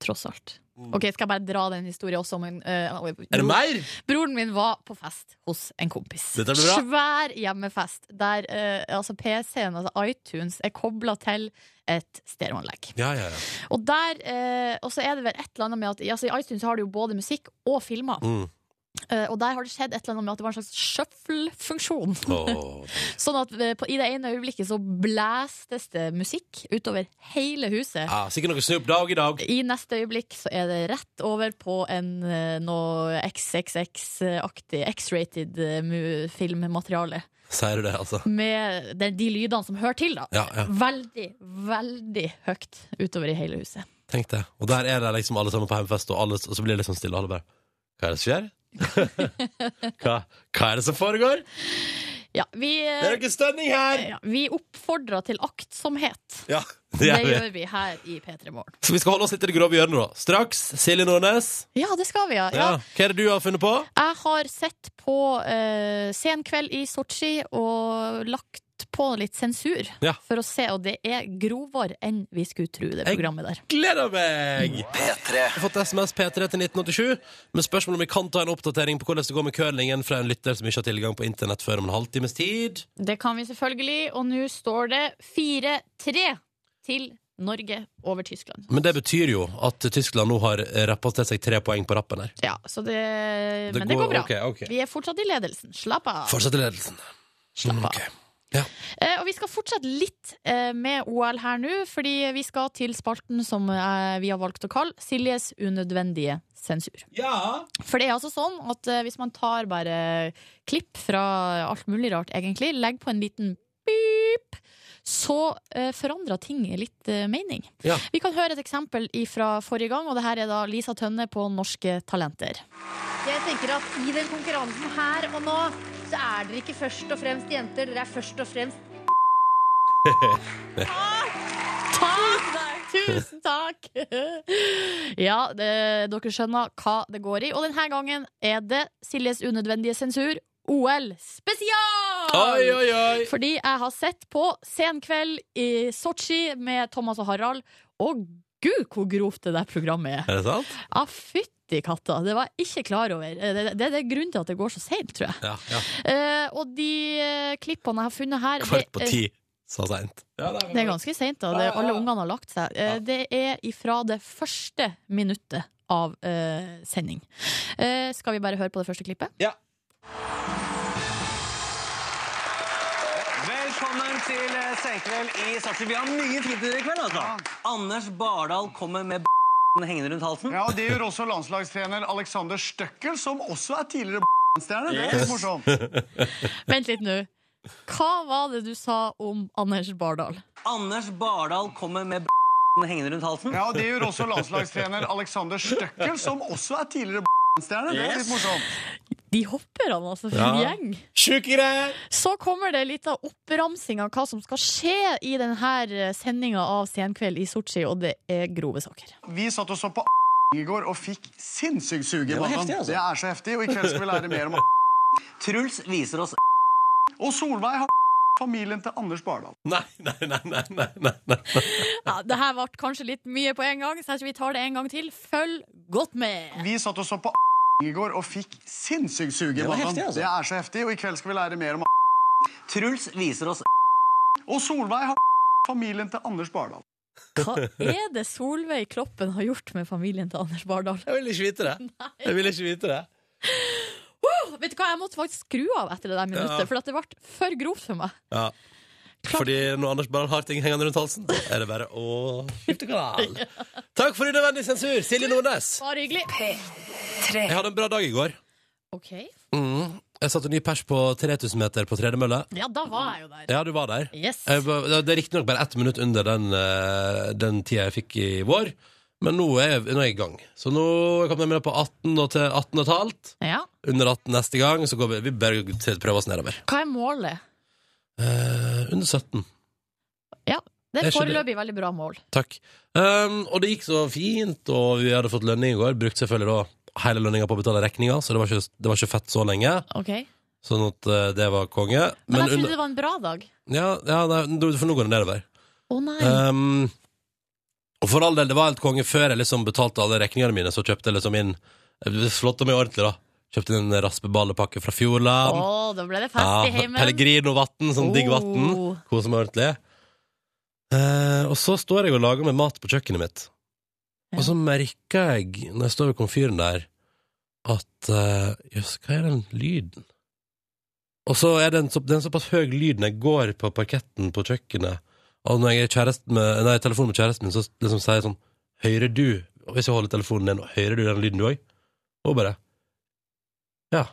tross alt. Ok, skal jeg bare dra den historien også om en eh, Mm. Er det mer? Broren min var på fest hos en kompis. Dette blir bra. Svær hjemmefest der eh, altså PC-en, altså iTunes, er kobla til et stereoanlegg. Ja, ja, ja. Og der, eh, og så er det vel et eller annet med at altså, I iTunes har du jo både musikk og filmer. Mm. Eh, og der har det skjedd et eller annet med at det var en slags shuffle-funksjon. Åh. Sånn at eh, på, i det ene øyeblikket så blæstes det musikk utover hele huset. Ja, sikkert noe Snoop Dogg i dag. I neste øyeblikk så er det rett over på en eh, noe XXX-aktig, X-rated eh, mu- filmmateriale. Sier du det, altså? Med de, de lydene som hører til, da. Ja, ja. Veldig, veldig høyt utover i hele huset. Tenk det. Og der er det liksom alle sammen på hjemmefest, og, alle, og så blir det liksom stille, og alle bare Hva er det som skjer? <laughs> hva, hva er det som foregår? Ja, vi, eh, Det er noe stønning her! ja, vi oppfordrer til aktsomhet. Ja, det Det gjør vi. gjør vi her i P3 Morgen. Så vi skal holde oss litt i det grove hjørnet, da. Straks, Silje Nordnes. Ja, det skal vi, ja. ja. Ja. Hva er det du har funnet på? Jeg har sett på uh, Sen kveld i Sotsji og lagt på litt sensur Ja. for å se, og det er grovere enn vi skulle tro, det Jeg- programmet der. Gleder meg! Jeg har fått SMS P3 til 1987 med spørsmål om vi kan ta en oppdatering på hvordan det går med curlingen fra en lytter som ikke har tilgang på internett før om en halvtimes tid. Det kan vi selvfølgelig, og nå står det 4-3 til Norge over Tyskland. Men det betyr jo at Tyskland nå har rapportert seg tre poeng på rappen her. Ja, så det, Men det går bra. ok, ok. Vi er fortsatt i ledelsen. Slapp av. Fortsett i ledelsen. Slapp av. Ok. Eh, og vi skal fortsette litt eh, med OL her nå, fordi vi skal til spalten som eh, vi har valgt å kalle Siljes unødvendige sensur. Ja. For det er altså sånn at eh, hvis man tar bare klipp fra alt mulig rart, egentlig, legger på en liten pip, så eh, forandrer ting litt eh, mening. Ja. Vi kan høre et eksempel fra forrige gang, og det her er da Lisa Tønne på Norske Talenter. Jeg tenker at i den konkurransen her og nå, så er dere ikke først og fremst jenter, dere er først og <laughs> fremst Takk! Tusen takk! <laughs> ja, det, dere skjønner hva det går i. Og denne gangen er det Siljes unødvendige sensur, OL spesial! Oi, oi, oi. Fordi jeg har sett på Sen kveld i Sotsji med Thomas og Harald, og gud hvor grovt det der programmet er. Er det sant? Ja, fytti katta, det var jeg ikke klar over. Eh, Det, det, det er grunnen til at det går så seint, tror jeg. Ja. ja. Eh, og de eh, klippene jeg har funnet her Kvart på det, eh, ti, så seint. Ja, det Det er ganske seint, da. Det, Ja, ja, ja. alle ungene har lagt seg. Eh, det er ifra det første minuttet av eh, sending. Eh, skal vi bare høre på det første klippet? Velkommen til eh, Senkveld i Sarpsborg. Vi har mye fint i kveld, altså. Anders Bardal kommer med b***en hengende rundt halsen. Ja, og Det gjør også landslagstrener Alexander Støkkel, som også er tidligere b***-stjerne. Det er litt morsomt. Vent litt nå. Hva var det du sa om Anders Bardal? Anders Bardal kommer med b***en hengende rundt halsen. Ja, og Det gjør også landslagstrener Alexander Støkkel, som også er tidligere b***-stjerne. Det er litt morsomt. De hopper han, altså, for en Ja. gjeng. Sjuke greier! Så kommer det litt av oppramsing av hva som skal skje i denne sendinga av Senkveld i Sotsji, og det er grove saker. Vi satt og så på i går og fikk sinnssykt suge. Det var Maddan. heftig, altså. Det er så heftig, og i kveld skal vi lære mer om Truls viser oss Og Solveig har familien til Anders Bardal. Nei, nei, nei, nei, nei, nei, nei. Ja, det her ble kanskje litt mye på en gang, så jeg tror vi tar det en gang til. Følg godt med! Vi satt og så på i går og fikk sinnssykt suge. Det var Maddan. heftig, altså. Det er så heftig, og i kveld skal vi lære mer om Truls viser oss Og Solveig har familien til Anders Bardal. Hva er det Solveig Kloppen har gjort med familien til Anders Bardal? Jeg vil ikke vite det. Jeg vil ikke vite det. Åh, Vet du hva, jeg måtte faktisk skru av etter det der minuttet, Ja. for at det ble for grovt for meg. Ja. Fordi når Anders Barald har ting hengende rundt halsen, da er det bare å skifte kanal. Takk for unødvendig sensur, Silje Nordnes. Bare hyggelig. Jeg hadde en bra dag i går. OK. Mm. Jeg satte ny pers på 3000 meter på tredemølle. Ja, da var jeg jo der. Ja, du var der. Yes. Jeg var- Det er riktignok bare ett minutt under den, eh, den tida jeg fikk i vår, men nå er, jeg- nå er jeg i gang. Så nå kom jeg med på 18 og til 18 og et halvt. Ja. Under 18 neste gang, så går vi, vi bare til- prøver oss nedover. Hva er målet? Eh, under 17. Det Er er ikke det- foreløpig veldig bra mål. Takk. Um, og det gikk så fint, og vi hadde fått lønning i går. Brukte selvfølgelig da hele lønninga på å betale regninga, så det var, ikke, det var ikke fett så lenge. Ok Men, Sånn at eh, det var konge. Men, jeg trodde under, det var en bra dag. ja, ja, nei, du- for nå går det nedover. Å nei. Um, og for all del, det var helt konge før jeg liksom betalte alle regningene mine, så kjøpte jeg liksom inn jeg Slått meg ordentlig, da. Kjøpte inn en raspeballepakke fra Å, Fjordland. da ble det fest Ja, i heimen. Pellegrino-vann, sånn digg vann. Oh. Kose meg ordentlig. Eh, og så står jeg og lager meg mat på kjøkkenet mitt. Og så merker jeg, når jeg står ved komfyren der, at eh, Jøss, hva er den lyden? Og så er det en, så, det er en såpass høy lyd når jeg går på parketten på kjøkkenet, og når jeg er i kjæresten med, nei, i telefon med kjæresten min, så liksom sier jeg sånn Hører du Og Hvis jeg holder telefonen din, hører du den lyden du òg? Og bare Ja.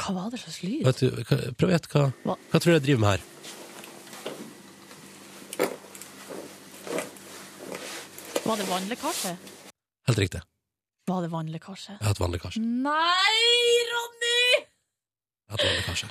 Hva var det slags lyd? Vet du, hva- prøv å gjette hva, Hva? hva tror du jeg driver med her. Var det vannlekkasje? Helt riktig. Var det vannlekkasje? Jeg har hatt vannlekkasje. Nei, Ronny! Jeg har hatt vannlekkasje.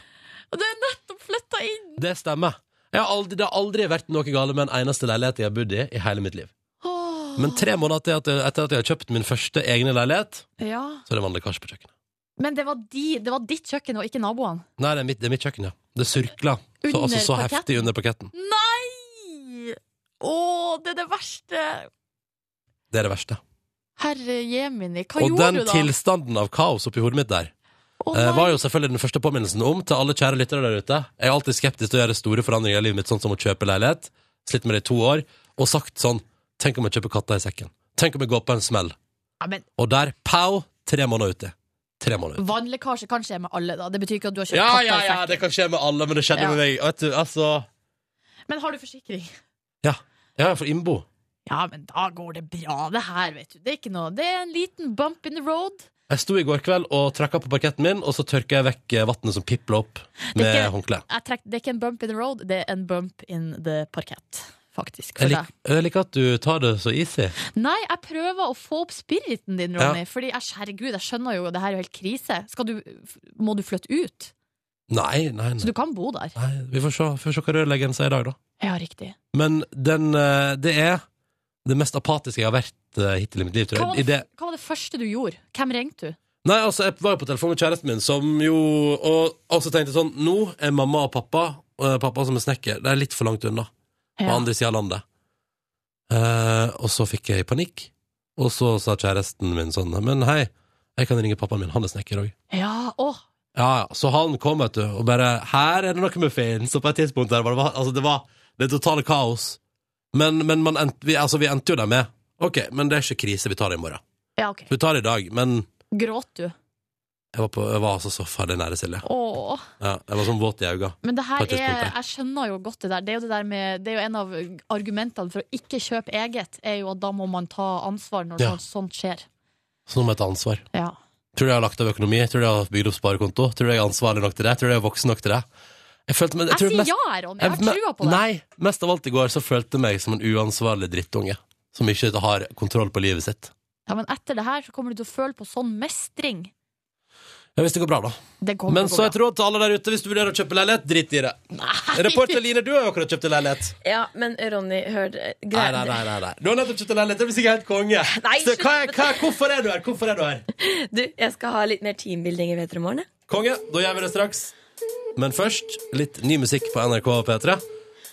Du er nettopp flytta inn! Det stemmer. Jeg har aldri, det har aldri vært noe galt med en eneste leilighet jeg har bodd i i hele mitt liv. Åh. Men tre måneder til at jeg- etter at jeg har kjøpt min første egne leilighet, ja. så er det vannlekkasje på kjøkkenet. Men det var, de, det var ditt kjøkken og ikke naboene. Nei, det er mitt, det er mitt kjøkken, ja. Det surkla. Så, Under altså så parketten? heftig under parketten. Nei! Å, det er det verste! Det er det verste. Herre jemini, hva Og gjorde den du da? tilstanden av kaos oppi hodet mitt der, Å, eh, nei. var jo selvfølgelig den første påminnelsen om til alle kjære lyttere der ute. Jeg er alltid skeptisk til å gjøre store forandringer i livet mitt, sånn som å kjøpe leilighet. Slitt med det i to år. Og sagt sånn Tenk om jeg kjøper katta i sekken. Tenk om jeg går på en smell. ja, men Og der, pow, tre måneder uti. Tre måneder uti. Vannlekkasje kan skje med alle, da. Det betyr ikke at du har kjøpt Ja, katter ja, i ja, sekken. det kan skje med alle, men det skjedde Ja. med meg. Vet du, altså Men har du forsikring? Ja, ja for innbo. Ja, men da går det bra, det her, vet du. Det er ikke noe Det er en liten bump in the road. Jeg sto i går kveld og trakka på parketten min, og så tørka jeg vekk eh, vannet som pipla opp Det med er ikke- håndkle. Jeg trekk, det er ikke en bump in the road, det er en bump in the parkett. Faktisk. For Jeg, deg. lik, jeg liker at du tar det så easy. Nei, jeg prøver å få opp spiriten din, Ronny. Fordi jeg, herregud, jeg skjønner jo, det her er jo helt krise. Skal du, må du flytte ut? Nei, nei, nei. Så du kan bo der. nei vi får se, får se hva rørleggeren sier i dag, da. Ja, riktig. Men den, eh, det er det mest apatiske jeg har vært eh, hittil i mitt liv, tror Hva var, jeg. I det, det, hva var det første du gjorde? Hvem ringte du? Nei, altså, jeg var jo på telefon med kjæresten min, som jo Og, og så tenkte jeg sånn Nå er mamma og pappa, og pappa som er snekker, det er litt for langt unna. på andre sida av landet. Eh, og så fikk jeg panikk, og så sa kjæresten min sånn Men hei, jeg kan ringe pappaen min, han er snekker òg. Ja, åh, Ja, ja. Så han kom, vet du, og bare Her er det noe muffins, og på et tidspunkt der var det Altså, det var det totale kaos. Men, men man endte, vi, altså, vi endte jo der med OK, men det er ikke krise, vi tar det i morgen. ja, ok. Vi tar det i dag, men Gråt du? jeg var, på, jeg var altså så ferdig nære Silje. Åh. Ja, jeg var sånn våt i øynene. Men det På her et tidspunkt, er, ja. jeg skjønner jo godt det der. Det er jo, det der med, det er jo en av argumentene for å ikke kjøpe eget, er jo at da må man ta ansvar når Ja. sånt, sånt skjer. Så nå må jeg ta ansvar. Ja. Tror du jeg har lagt av økonomi? Tror du jeg har bygd opp sparekonto? Tror du jeg er ansvarlig nok til det? Tror du jeg er voksen nok til det? Jeg, følte, meg- jeg, Jeg tror sier mest- ja, Ronny. Jeg har me- trua på det. Nei, mest av alt i går så følte jeg meg som en uansvarlig drittunge som ikke har kontroll på livet sitt. Ja, men etter det her så kommer du til å føle på sånn mestring. Ja, Hvis det går bra, da. Det kommer Men til å gå så bra. et råd til alle der ute hvis du vurderer å kjøpe leilighet, drit i det. Reporter Line, du har jo akkurat kjøpt en leilighet. Ja, men Ronny, hør eh, Nei, nei, nei, nei, nei. Du har nettopp kjøpt en leilighet, det blir sikkert helt konge. Nei, så hva, er- slutt. hva, hvorfor er du her? Hvorfor er du her? Du, jeg skal ha litt mer teambuilding i P3 Morgen. jeg. Konge, da gjør vi det straks. Men først litt ny musikk på NRK og P3.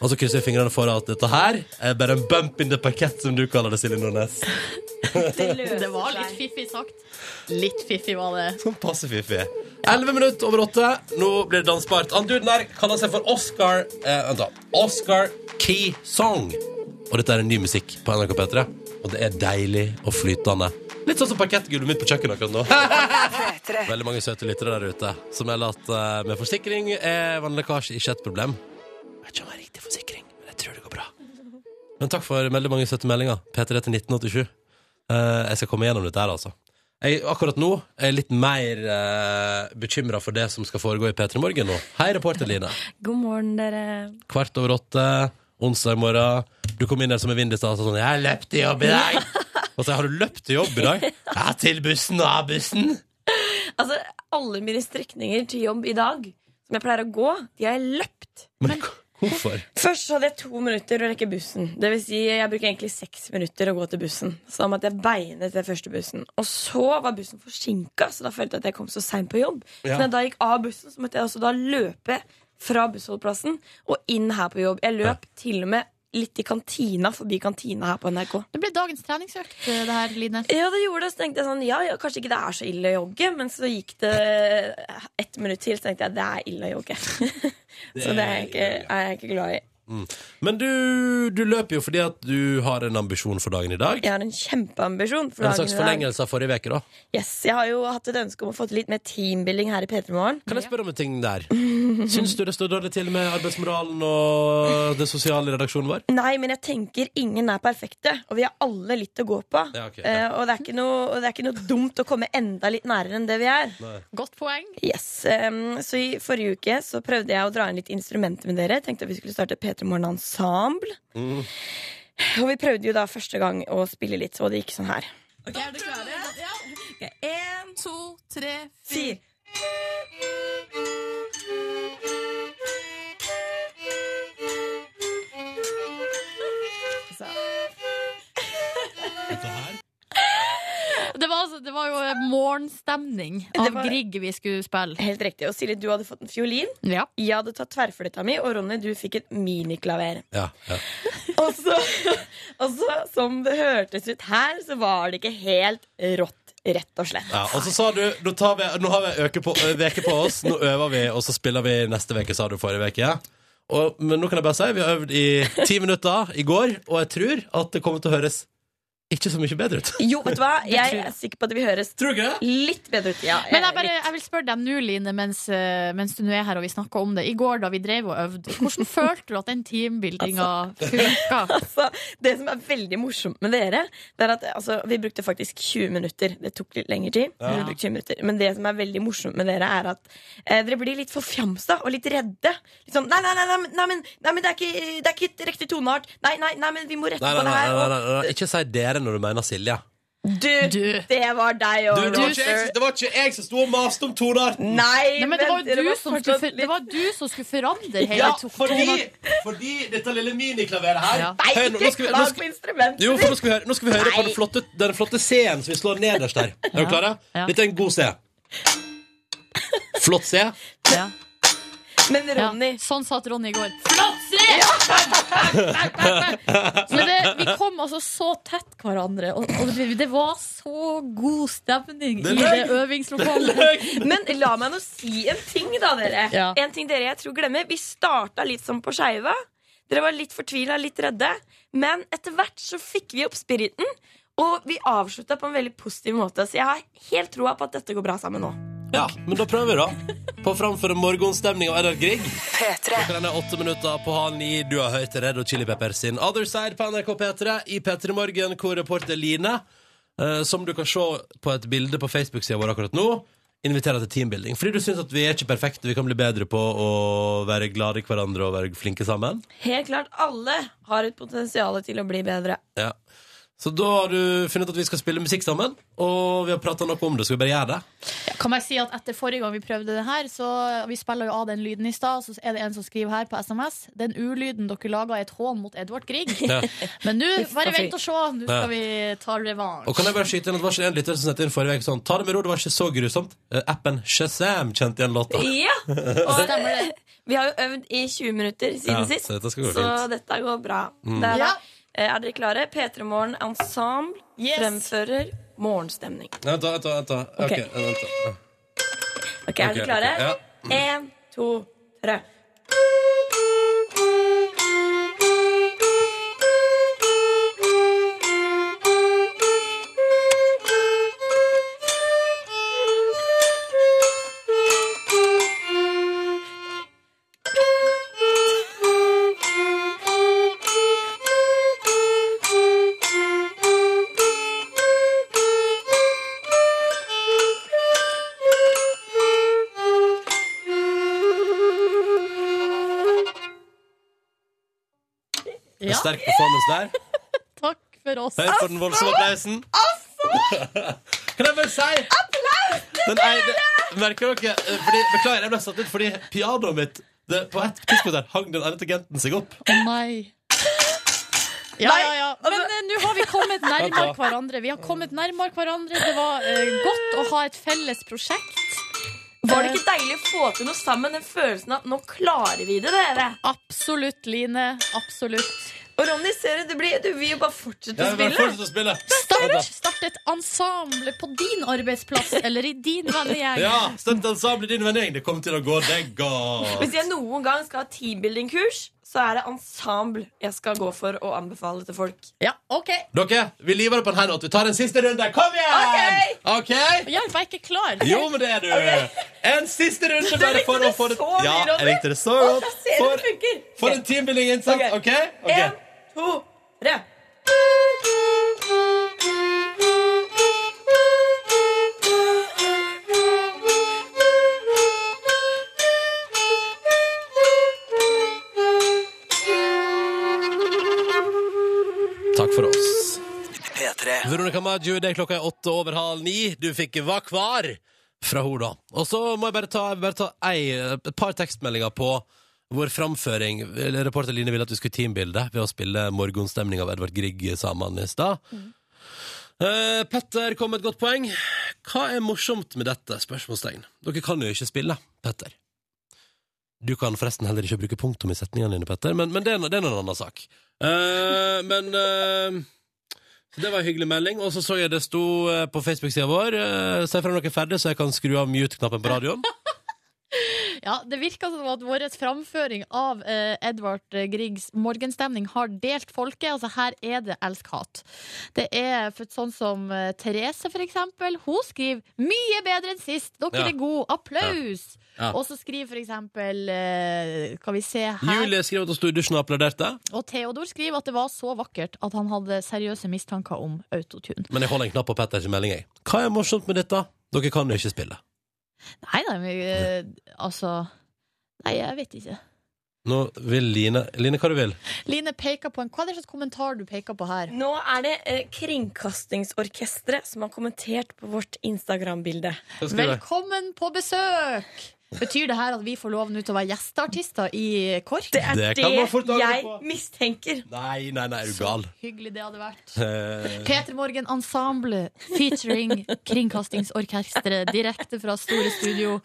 Og så krysser vi fingrene for at dette her er bare en bump in the packet, som du kaller det, Silje Nordnes. Det var litt fiffig sagt. Litt fiffig var <laughs> det. Sånn passe fiffig. Elleve minutter over åtte. Nå blir det dansbart. Han duden her kaller seg for Oscar eh, Vent, da. Oscar Key Song. Og dette er en ny musikk på NRK P3. Og det er deilig og flytende. Litt sånn som parkettgulvet mitt på kjøkkenet <laughs> akkurat nå. Veldig mange søte lyttere der ute som melder at eh, med forsikring er vannlekkasje ikke et problem. Jeg vet ikke om det er riktig forsikring, men jeg tror det går bra. Men takk for veldig mange søte meldinger. P3 til 1987. Eh, jeg skal komme gjennom dette her, altså. Jeg, akkurat nå er jeg litt mer uh, bekymra for det som skal foregå i P3 Morgen nå. Hei, reporter Line. God morgen, dere. Kvart over åtte, onsdag morgen. Du kom inn der som en vind i stad og sa sånn 'Jeg løp til jobb i <laughs> dag'. Og så 'Har du løpt til jobb i dag?' 'Ja, til bussen og av bussen'. Altså, alle mine strekninger til jobb i dag, som jeg pleier å gå, de har jeg løpt. Men k- hvorfor? Først så hadde jeg to minutter å rekke bussen. Det vil si, jeg bruker egentlig seks minutter å gå til bussen. Så da måtte jeg beine til første bussen. Og så var bussen forsinka, så da følte jeg at jeg kom så seint på jobb. Ja. Så når jeg da gikk av bussen, så måtte jeg også da løpe fra bussholdeplassen og inn her på jobb. Jeg løp til og med litt i kantina, forbi kantina her på NRK. Det ble dagens treningsøkt, eh, det her, Line. Ja, det gjorde det. Så tenkte jeg sånn, ja, ja, kanskje ikke det er så ille å jogge. Men så gikk det ett minutt til, så tenkte jeg det er ille å jogge. <laughs> så det er jeg, ikke, er jeg ikke glad i. Mm. Men du, du løper jo fordi at du har en ambisjon for dagen i dag. Jeg har en kjempeambisjon for En dagen slags i dag. forlengelse av forrige uke, da. Yes, jeg har jo hatt et ønske om å få til litt mer teambuilding her i P3 Morgen. Kan jeg spørre om en ting der? <laughs> Syns du det står dårlig til med arbeidsmoralen og det sosiale i redaksjonen vår? Nei, men jeg tenker ingen er perfekte, og vi har alle litt å gå på. Ja, ok, ja. Eh, og, det er ikke noe, og det er ikke noe dumt å komme enda litt nærere enn det vi er. Godt poeng. Yes, ehm, så I forrige uke så prøvde jeg å dra inn litt instrumenter med dere. Tenkte at vi skulle starte P3 Morgen Ensemble. Og vi prøvde jo da første gang å spille litt, og det gikk sånn her. Ok, Er du klare? Én, To, tre, fire. Det var, altså- det var jo eh, morgenstemning av Det var- Grieg vi skulle spille. Helt riktig. Og Silje, du hadde fått en fiolin. Ja. Jeg hadde tatt tverrfløyta mi, og Ronny, du fikk et miniklaver. Ja, ja. Og så, <laughs> og så, som det hørtes ut her, så var det ikke helt rått, rett og slett. Ja, og så sa du Nå, tar vi, nå har vi en uke på, ø, veke på oss, nå øver vi, og så spiller vi neste uke, sa du forrige uke. Ja. Og, men nå kan jeg bare si vi har øvd i ti minutter i går, og jeg tror at det kommer til å høres ikke så mye bedre ut. Jo, vet du hva? Jeg tror jeg. er sikker på at det vil høres <laughs> Tror du ikke det? litt bedre ut. Ja, Men jeg, bare, jeg vil spørre deg nå, Line, mens, eh, mens du nå er her og vi snakker om det. I går da vi drev og øvde, <laughs> hvordan følte du at den teambuildinga funka? altså, det som er veldig morsomt med dere, det er at altså, vi brukte faktisk 20 minutter. Det tok litt lengre tid. men Vi brukte 20 minutter. Men det som er veldig morsomt med dere, er at eh, dere blir litt forfjamsa og litt redde. Litt sånn, nei, nei, nei, nei, men- nei, men, nei, men det er ikke, det er ikke riktig toneart. Nei, nei, nei, men vi må rette Nei, på nei, nei, det nei, her. nei, og- nei, nei, nei. ikke si dere når du mener Silje. Du, Du. det var deg Du, og det, var ikke jeg, Roger. som- det var ikke jeg som sto og maste om tonearten! Nei, Nei, men det, var jo dere du som fortsatt skulle, for- det litt- var du som skulle forandre hele Ja, to- fordi, tonen. fordi dette lille miniklaveret her Ja. Nei, Hør nå, nå ikke skal vi, nå klag skal, på instrumentet! Jo, for nå skal vi høre, nå skal vi høre på Nei. den flotte, den flotte C-en som vi slår nederst der. Er du Ja, klare? ja. Dette er en god C. Flott C. Ja, Men ja. Ronny Sånn satt Ronny i går. Flott <laughs> se! Men det, vi kom altså så tett hverandre, og, og det, det var så god stemning Det er i det øvingslokalet. <laughs> Men la meg nå si en ting, da, dere. Ja. En ting dere jeg tror glemmer. Vi starta litt sånn på skeiva. Dere var litt fortvila, litt redde. Men etter hvert så fikk vi opp spiriten, og vi avslutta på en veldig positiv måte. Så jeg har helt troa på at dette går bra sammen nå. Ja, men da prøver vi, da. På framfor morgenstemning av Edvard Grieg. Klokka den er åtte minutter på halv ni. Du har hørt Red og Chili Peppers sin Other Side på NRK P3 i P3 Morgen, hvor reporter Line, eh, som du kan se på et bilde på Facebook-sida vår akkurat nå, inviterer til teambuilding. Fordi du syns at vi er ikke perfekte, vi kan bli bedre på å være glade i hverandre og være flinke sammen. Helt klart, alle har et potensial til å bli bedre. Ja. Så da har du funnet ut at vi skal spille musikk sammen, og vi har prata noe om det. Skal vi bare gjøre <laughs> det? Kan bare si at Etter forrige gang vi prøvde det her, så vi spiller jo av den lyden i stad, så er det en som skriver her på SMS Den ulyden dere laga, er et hån mot Edvard Grieg. Ja. Men <laughs> nå, bare Huff, da, vent og se. Nå Ja. skal vi ta revansj. Og kan jeg bare skyte inn at det var ikke en lytter som sendte inn forrige uke sånn Ta det med ro, det var ikke så grusomt. Eh, appen Shazam kjente igjen låta. Ja! Og Stemmer eh, vi har jo øvd i 20 minutter siden Ja, sist, så dette skal gå fint. dette går bra. Mm. Det er, Ja. da. Eh, er dere klare? P3 Morgen Ensemble fremfører Morgenstemning. Vent, da, vent, da, vent. da. Ok. Ok, vent da. Ok, Er dere Ok, klare? ok, ja. Mm. En, to, tre. En Sterk performance der. Takk for oss. Hør på den voldsomme applausen. Kan jeg bare si Den ei- det- Merker dere eh, fordi, Beklager, jeg ble satt ut fordi pianoet mitt det, På et tidspunkt der hang den ene tangenten seg opp. Å nei. Ja, ja, ja. Men eh, nå har vi kommet nærmere Vent da. hverandre. Vi har kommet nærmere hverandre. Det var eh, godt å ha et felles prosjekt. Var det ikke deilig å få til noe sammen? Den følelsen at nå klarer vi det, dere. Absolutt, Line. Absolutt. Og Ronny, ser du, du, blir, du vil jo bare fortsette Ja, å men spille. fortsett å spille. Start, start et ensemble på din arbeidsplass eller i din vennegjeng. Ja, Stemt ensemble din vennegjeng. Det kommer til å gå deg Hvis godt. jeg noen gang skal ha teambuilding-kurs, så er det ensemble jeg skal gå for å anbefale til folk. Ja, ok <laughs> Dere, vi liver det på en her Vi tar en siste runde. Kom igjen! Ok Hjelp, jeg er ikke klar. Jo, men det er du. En siste runde bare for å få det så mye, Ja, jeg Ronny. likte det så Å, godt. se, det For, funker. for en teambuilding-innsats. OK? Ok. En, to, tre. Takk for oss. Veronica Maggio, det er klokka er åtte over halv ni. Du fikk Hva kvar? fra henne, da. Og så må jeg bare ta, jeg vil bare ta ei, et par tekstmeldinger på vår framføring. Reporter Line ville at vi skulle teambilde ved å spille morgenstemning av Edvard Grieg sammen i stad. Eh, Petter kom med et godt poeng. Hva er morsomt med dette? Spørsmålstegn. Dere kan jo ikke spille, Petter. Du kan forresten heller ikke bruke punktum i setningene dine, Petter, men, men det, er, no- det er nå en annen sak. Eh, men eh, så Det var en hyggelig melding. Og så så jeg det sto eh, på Facebook-sida vår eh, Se frem noe ferdig, så jeg kan skru av mute-knappen på radioen. Ja, Det virker som at vår framføring av eh, Edvard Griegs morgenstemning har delt folket. Altså Her er det elsk-hat. Det er for, sånn som eh, Therese, for eksempel. Hun skriver 'mye bedre enn sist'. Dere Ja. er gode. Applaus! Ja. Ja. Og så skriver for eksempel eh, Skal vi se her Julie skrev at hun sto i dusjen og applauderte, Og Theodor skriver at det var så vakkert at han hadde seriøse mistanker om autotune. men jeg holder en knapp på Petters melding. jeg. Hva er morsomt med dette? Dere kan jo ikke spille. Nei, nei, men eh, altså Nei, jeg vet ikke. Nå vil Line Line, hva du vil? Line peker på en Hva er det slags kommentar du peker på her? Nå er det eh, Kringkastingsorkestret som har kommentert på vårt Instagram-bilde. Hva skriver jeg? Velkommen på besøk! Betyr det her at vi får lov nå til å være gjesteartister i KORK? Det er det, Det kan man fort angre jeg på. <laughs> mistenker. Nei, nei, nei, er du gal? Hyggelig det hadde vært. Eh, Peter Morgen Ensemble featuring Kringkastingsorkestret direkte fra Store Studio.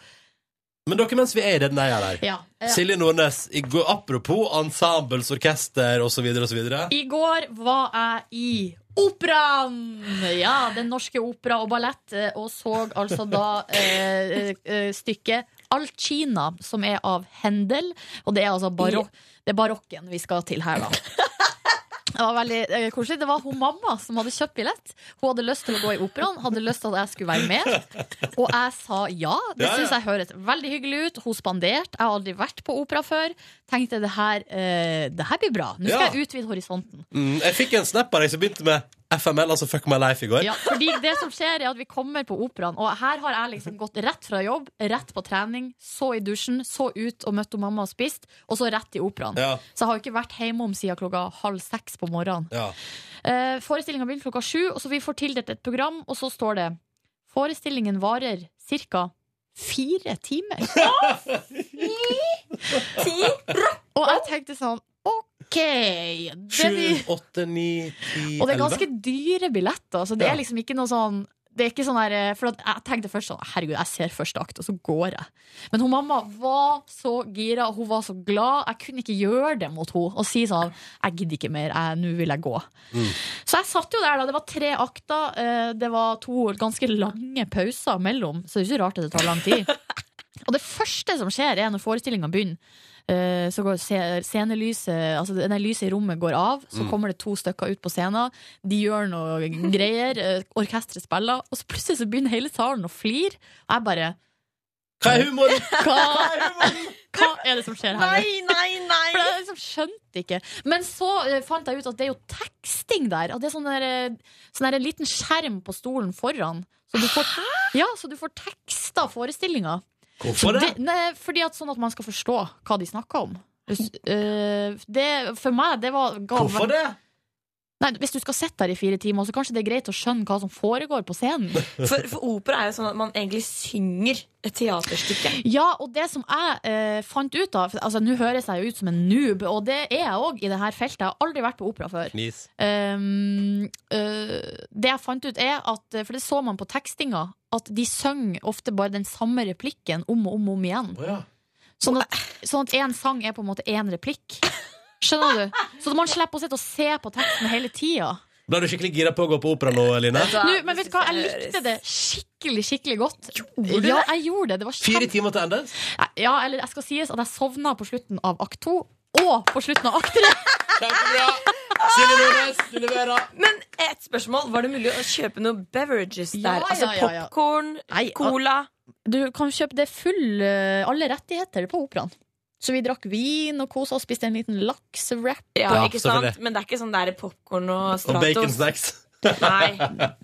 Men dere, mens vi er i den der der Ja. eh, Silje Nordnes, i går, apropos ensembles, orkester osv. osv. I går var jeg i Operaen! Ja, Den Norske Opera og Ballett. eh, Og så altså da eh, eh, stykket Alcina, som er av Händel. Og det er altså barok det er barokken vi skal til her, da. Det var veldig eh, koselig. Det var hun mamma som hadde kjøpt billett. Hun hadde lyst til å gå i operaen, hadde lyst til at jeg skulle være med. Og jeg sa ja. Det Ja, ja. syns jeg høres veldig hyggelig ut. Hun spanderte. Jeg har aldri vært på opera før. Tenkte det her, eh, det her blir bra. Nå skal Ja. jeg utvide horisonten. Mm, jeg fikk en snap av deg som begynte med FML, altså Fuck My Life, i går. Ja, fordi det som skjer er at vi kommer på operaen Og her har jeg liksom gått rett fra jobb Rett på trening, så i dusjen Så ut og møtt mamma og spist Og så rett i operaen Ja. Så jeg har jo ikke vært hjemme om siden klokka halv seks på morgenen Ja. eh, Forestillingen begynner klokka sju Og så vi får tildelt et program Og så står det Forestillingen varer cirka fire timer Og jeg tenkte sånn Ok det Sju, blir- åtte, ni, ti, Og det er elleve. ganske dyre billetter, så det Ja. er liksom ikke noe sånn det er ikke sånn der, eh, for at Jeg tenkte først sånn Herregud, jeg ser første akt, og så går jeg. Men hun mamma var så gira, og hun var så glad. Jeg kunne ikke gjøre det mot henne og si sånn Jeg gidder ikke mer. jeg- Nå vil jeg gå. Mm. Så jeg satt jo der, da. Det var tre akter. eh, Det var to ganske lange pauser mellom, så det er ikke rart at det tar <laughs> lang tid. Og det første som skjer, er når forestillinga begynner. eh, Så går se- scenelyset Altså det- nei, lyset i rommet går av, så Mm. kommer det to stykker ut på scenen. De gjør noe greier, eh, orkesteret spiller, og så plutselig så begynner hele salen å flire. Og jeg bare Hva er humoren? Hva, <laughs> hva er det som skjer her? Nei, nei, nei! For jeg liksom skjønte ikke. Men så eh, fant jeg ut at det er jo teksting der. At det er sånn der, eh, sånn der en liten skjerm på stolen foran. Så du får, ja, så du får teksta forestillinga. Hvorfor det? nei, fordi at sånn at man skal forstå hva de snakker om. Hvis, eh, det, for meg, det var ga- Hvorfor det? Nei, hvis du skal sitte der i fire timer, så kanskje det er greit å skjønne hva som foregår på scenen. <laughs> For, for opera er jo sånn at man egentlig synger et teaterstykke. Ja, og det som jeg eh, fant ut av for- Altså, Nå høres jeg jo ut som en noob, og det er jeg òg i det her feltet. Jeg har aldri vært på opera før. Knis. Um, øh, det jeg fant ut er at eh, For det så man på tekstinga At de søng ofte bare den samme replikken Om og om og om igjen Sånn at, sånn at en sang er på en måte en replikk Skjønner du? Så man slipper å sitte og se på teksten hele tida Da er du skikkelig gira på å gå på opera nå, Line? Altså, Nå, Men vet du hva, jeg likte Eh, det skikkelig, skikkelig godt du Ja, det? jeg gjorde det, det var Fire kjempe timer til endes? Ja, eller jeg skal sies at jeg sovna på slutten av akt 2 Og på slutten av akt 3 Kjempebra! Silje Nordnes, du leverer. Men et spørsmål. Var det mulig å kjøpe noen beverages der? Ja, ja, altså ja, ja. popkorn, Nei, ah. cola? Du kan kjøpe det full eh, Alle rettigheter på operaen Så vi drakk vin og kosa og spiste en liten laksewrap Ja, Ja, ikke sant? selvfølgelig. Men det er ikke sånn der popkorn og Og bacon Stratos. snacks. <laughs> Nei.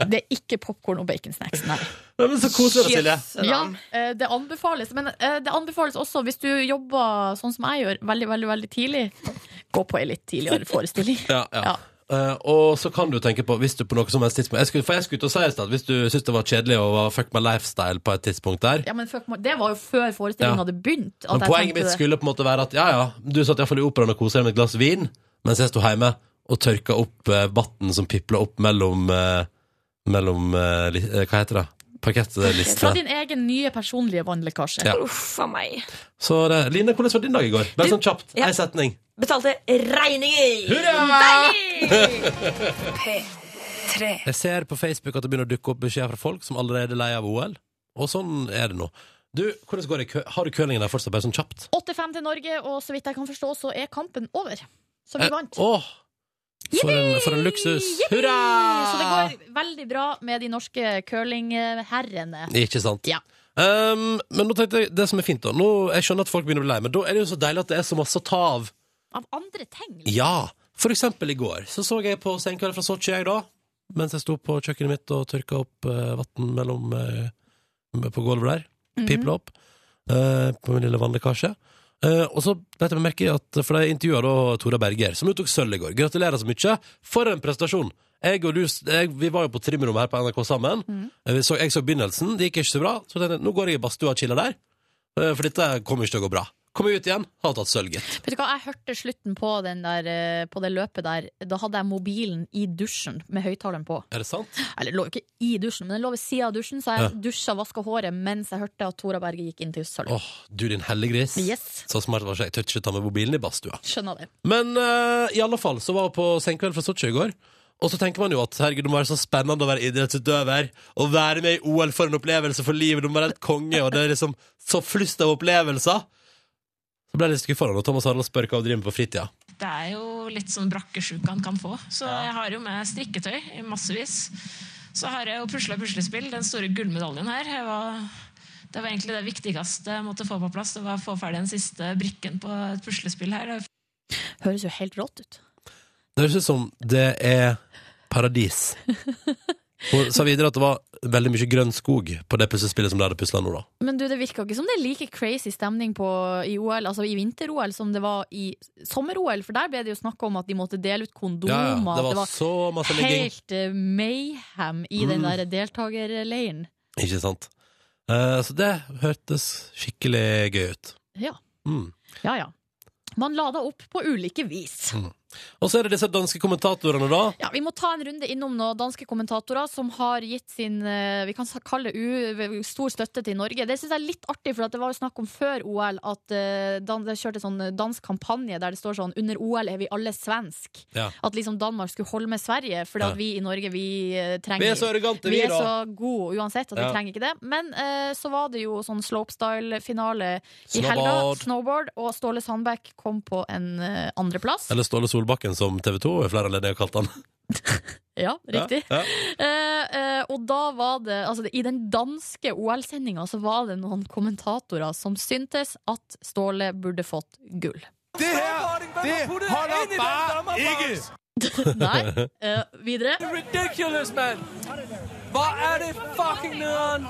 Det er ikke popcorn og baconsnacks, nei Nei, men så koselig, da, Silje. ja, eh, Det anbefales Men eh, det anbefales også hvis du jobber Sånn som jeg gjør, veldig, veldig, veldig tidlig Gå på en litt tidligere forestilling <laughs> Ja, ja. Eh, og så kan du tenke på Hvis du på noe som helst tidspunkt jeg skulle, For jeg skulle ut og si i sted at Hvis du syntes det var kjedelig Å var fuck my lifestyle på et tidspunkt der Ja, men fuck, Det var jo før forestillingen Ja. hadde begynt at Men jeg poenget tenkte mitt det. skulle på en måte være at Ja, ja, du satt i hvert fall i operaen og koset deg med et glass vin Mens jeg stod hjemme og tørka opp eh, Batten som piplet opp mellom eh, Mellom, eh, li- eh, hva heter det? Fra Parkettlistene din egen nye personlige vannlekkasje Ja. Uff a meg. Så det, Line, hvordan var din dag i går? Bare sånn kjapt, en setning Betalte regninger! Hurra! Deilig! Jeg ser på Facebook at det begynner å dukke opp beskjeder fra folk som allerede er lei av OL. Og sånn er det nå. Du, hvordan går det? i kø- Har du curlingen der fortsatt, bare sånn kjapt? 8-5 til Norge, og så vidt jeg kan forstå Så er kampen over Så vi Eh, vant Åh, for en, for en luksus. Yippee! Hurra! Så det går veldig bra med de norske curlingherrene. Ikke sant? Um, men nå tenkte jeg, det som er fint da nå, Jeg skjønner at folk begynner å bli lei, men da er det jo så deilig at det er så masse å ta av. Av andre ting. Ja, for eksempel i går Så så jeg på Senkveld fra Sochi jeg da Mens jeg sto på kjøkkenet mitt og tørka opp uh, vatten mellom eh, På gulvet der Mhm. Piplet opp eh, På min lille vannlekkasje Eh, og så bet jeg meg merke i at For jeg intervjuet da Tora Berger Som uttok sølv i går Gratulerer så mye For en prestasjon jeg og du, jeg, Vi var jo på trimrommet her på NRK sammen Eh, vi så, Jeg så begynnelsen Det gikk ikke så bra Så tenkte jeg Nå går jeg i badstua og chiller der Eh, For dette kommer ikke til å gå bra Kommer jeg ut igjen Har tatt sølv gitt Vet du hva, Jeg hørte slutten på, den der, eh, på det løpet der. Da hadde jeg mobilen i dusjen med høyttaleren på. Er det sant? Eller den lå jo ikke i dusjen, men den lå ved sida av dusjen, så jeg Ja. dusja og vaska håret mens jeg hørte at Tora Berge gikk inn til sølv. Åh, du din hellegris. Yes. Så smart var ikke jeg. Jeg Tør ikke ta med mobilen i badstua. Skjønner det. Men eh, i alle fall, så var jeg på senkveld fra Sotsji i går. Og så tenker man jo at herregud, det må være så spennende å være idrettsutøver. Å være med i OL for en opplevelse for livet. Du må være helt konge, og det er liksom så flust av opplevelser. Så ble jeg litt skuffa da Thomas Harald spør hva han driver med på fritida. Det er jo litt sånn brakkesjuke han kan få. Så jeg har jo med strikketøy i massevis. Så har jeg jo pusla puslespill. Den store gullmedaljen her jeg var, Det var egentlig det viktigste jeg måtte få på plass. Det var å få ferdig den siste brikken på et puslespill her. Høres jo helt rått ut. Det høres ut som det er <laughs> paradis. Hun sa videre at det var veldig mye grønn skog på det puslespillet som de hadde pusla nå, da. Men du, det virka ikke som det er like crazy stemning på, i OL, altså i vinter-OL som det var i sommer-OL, for der ble det jo snakk om at de måtte dele ut kondomer. Ja, ja, det var så masse ligging. Helt eh, mayhem i den Mm. der deltakerleiren. Ikke sant? Eh, så det hørtes skikkelig gøy ut. Ja. Mm. ja, ja. Man lada opp på ulike vis. Mm. Og så er det disse danske kommentatorene, da. Ja, Vi må ta en runde innom noen danske kommentatorer som har gitt sin eh, vi kan kalle det u stor støtte til Norge. Det syns jeg er litt artig, for at det var jo snakk om før OL at eh, Dan det kjørte sånn dansk kampanje der det står sånn 'Under OL er vi alle svensk'. Ja. At liksom Danmark skulle holde med Sverige, fordi Ja. at vi i Norge vi eh, trenger Vi er så arrogante, vi, er da. så gode uansett Ja. at vi trenger ikke det. Men eh, så var det jo sånn slopestyle-finale i helga. Snowboard. Snowboard. Og Ståle Sandbæk kom på en eh, andreplass. Eller Ståle Solbakken, som TV 2 i flere anledninger har kalt han. Ja, <laughs> riktig. Ja, Eh, eh, og da var det altså, I den danske OL-sendinga så var det noen kommentatorer som syntes at Ståle burde fått gull. Det her, det holder bare ikke. <laughs> Nei. Eh, videre. Ridiculous, man. Hvor er det fucking nederen?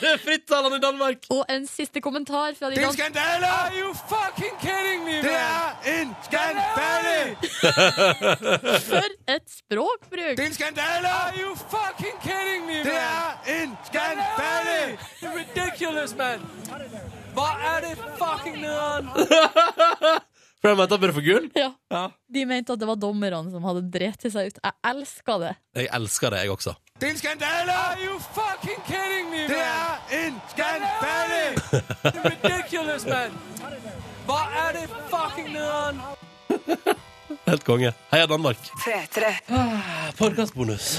det er frittalende i Danmark! Og en siste kommentar fra de Det er en dans- skandale! Are you fucking kidding me, Det er en skandale! For et språkbruk! Det er en skandale! Are you fucking kidding me, Det er en skandale! Ridiculous, man. Hvor er det fucking <laughs> nederen? For de mente han burde få gull? Ja. De mente at det var dommerne som hadde dreti seg ut. Jeg elska det. Jeg elsker det, jeg også. Det er en skandale! Are you fucking kidding me, Det er en skandale! Ridiculous, man. Hvor er det fucking nederen? Helt konge. Heia Danmark. Ah, Podkastbonus.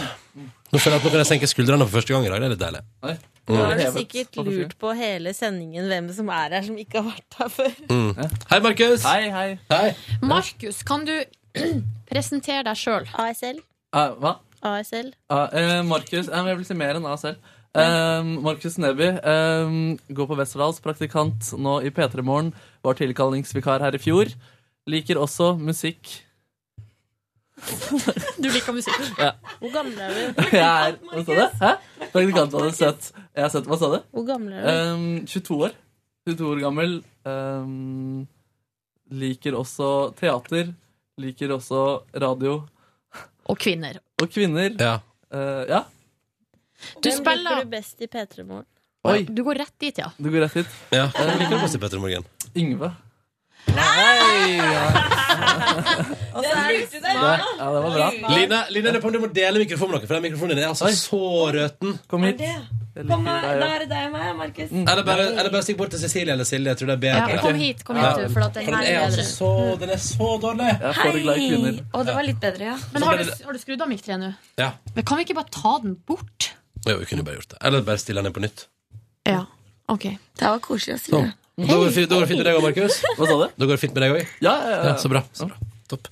Nå føler jeg at nå kan jeg senke skuldrene for første gang i dag. Det er litt deilig. Nå Mm. har du sikkert lurt på hele sendingen hvem som er her som ikke har vært her før. Mm. Hei, Markus. Hei, hei. Markus, kan du <clears throat> presentere deg sjøl? ASL. Ah, hva? ASL. Ah, eh, Markus eh, Jeg vil si mer enn ASL. Eh, Markus Neby eh, går på Westerdals, praktikant nå i P3 Morgen. Var tilkallingsvikar her i fjor. Liker også musikk. <laughs> Du liker musikk. Ja. Hvor gammel er du? Jeg er Hva sa du? Hæ? Praktikant hadde sett Jeg har sett Hva sa du? Hvor gammel er du? Eh, 22 år. 22 år gammel. Eh, liker også teater. Liker også radio. Og kvinner. Og kvinner. Ja. Eh, ja. Du Hvem spiller- liker du best i P3 Morgen? Oi. Du går rett dit, ja. Du går rett hit. Ja, Hvem liker du best i Petter Morgen? Yngve. Nei! Og så er det Nei, ja, det var bra. Line, Line, jeg lurer på om du må dele mikrofonen med noen, for den mikrofonen din er altså så røten. Kom hit. Kom her, deg, ja. Mm. da er det deg og meg, Markus. Eller bare, eller bare stikk bort til Cecilie eller Silje. Jeg tror det er bedre. Ja, kom hit, kom hit, Ja. du, for at den her er altså bedre. så, den er så dårlig. Å, det var litt bedre, ja. Men har du, har du skrudd av mic 3 nå? Ja. Men kan vi ikke bare ta den bort? Jo, vi kunne jo bare gjort det. Eller bare stille den inn på nytt. Ja, ok Det var koselig å si Sånn. Da går det fint, da går det fint med deg òg, Markus. Hva sa du? Da går det fint med deg òg. Ja, ja, ja. så bra. Så bra. Topp.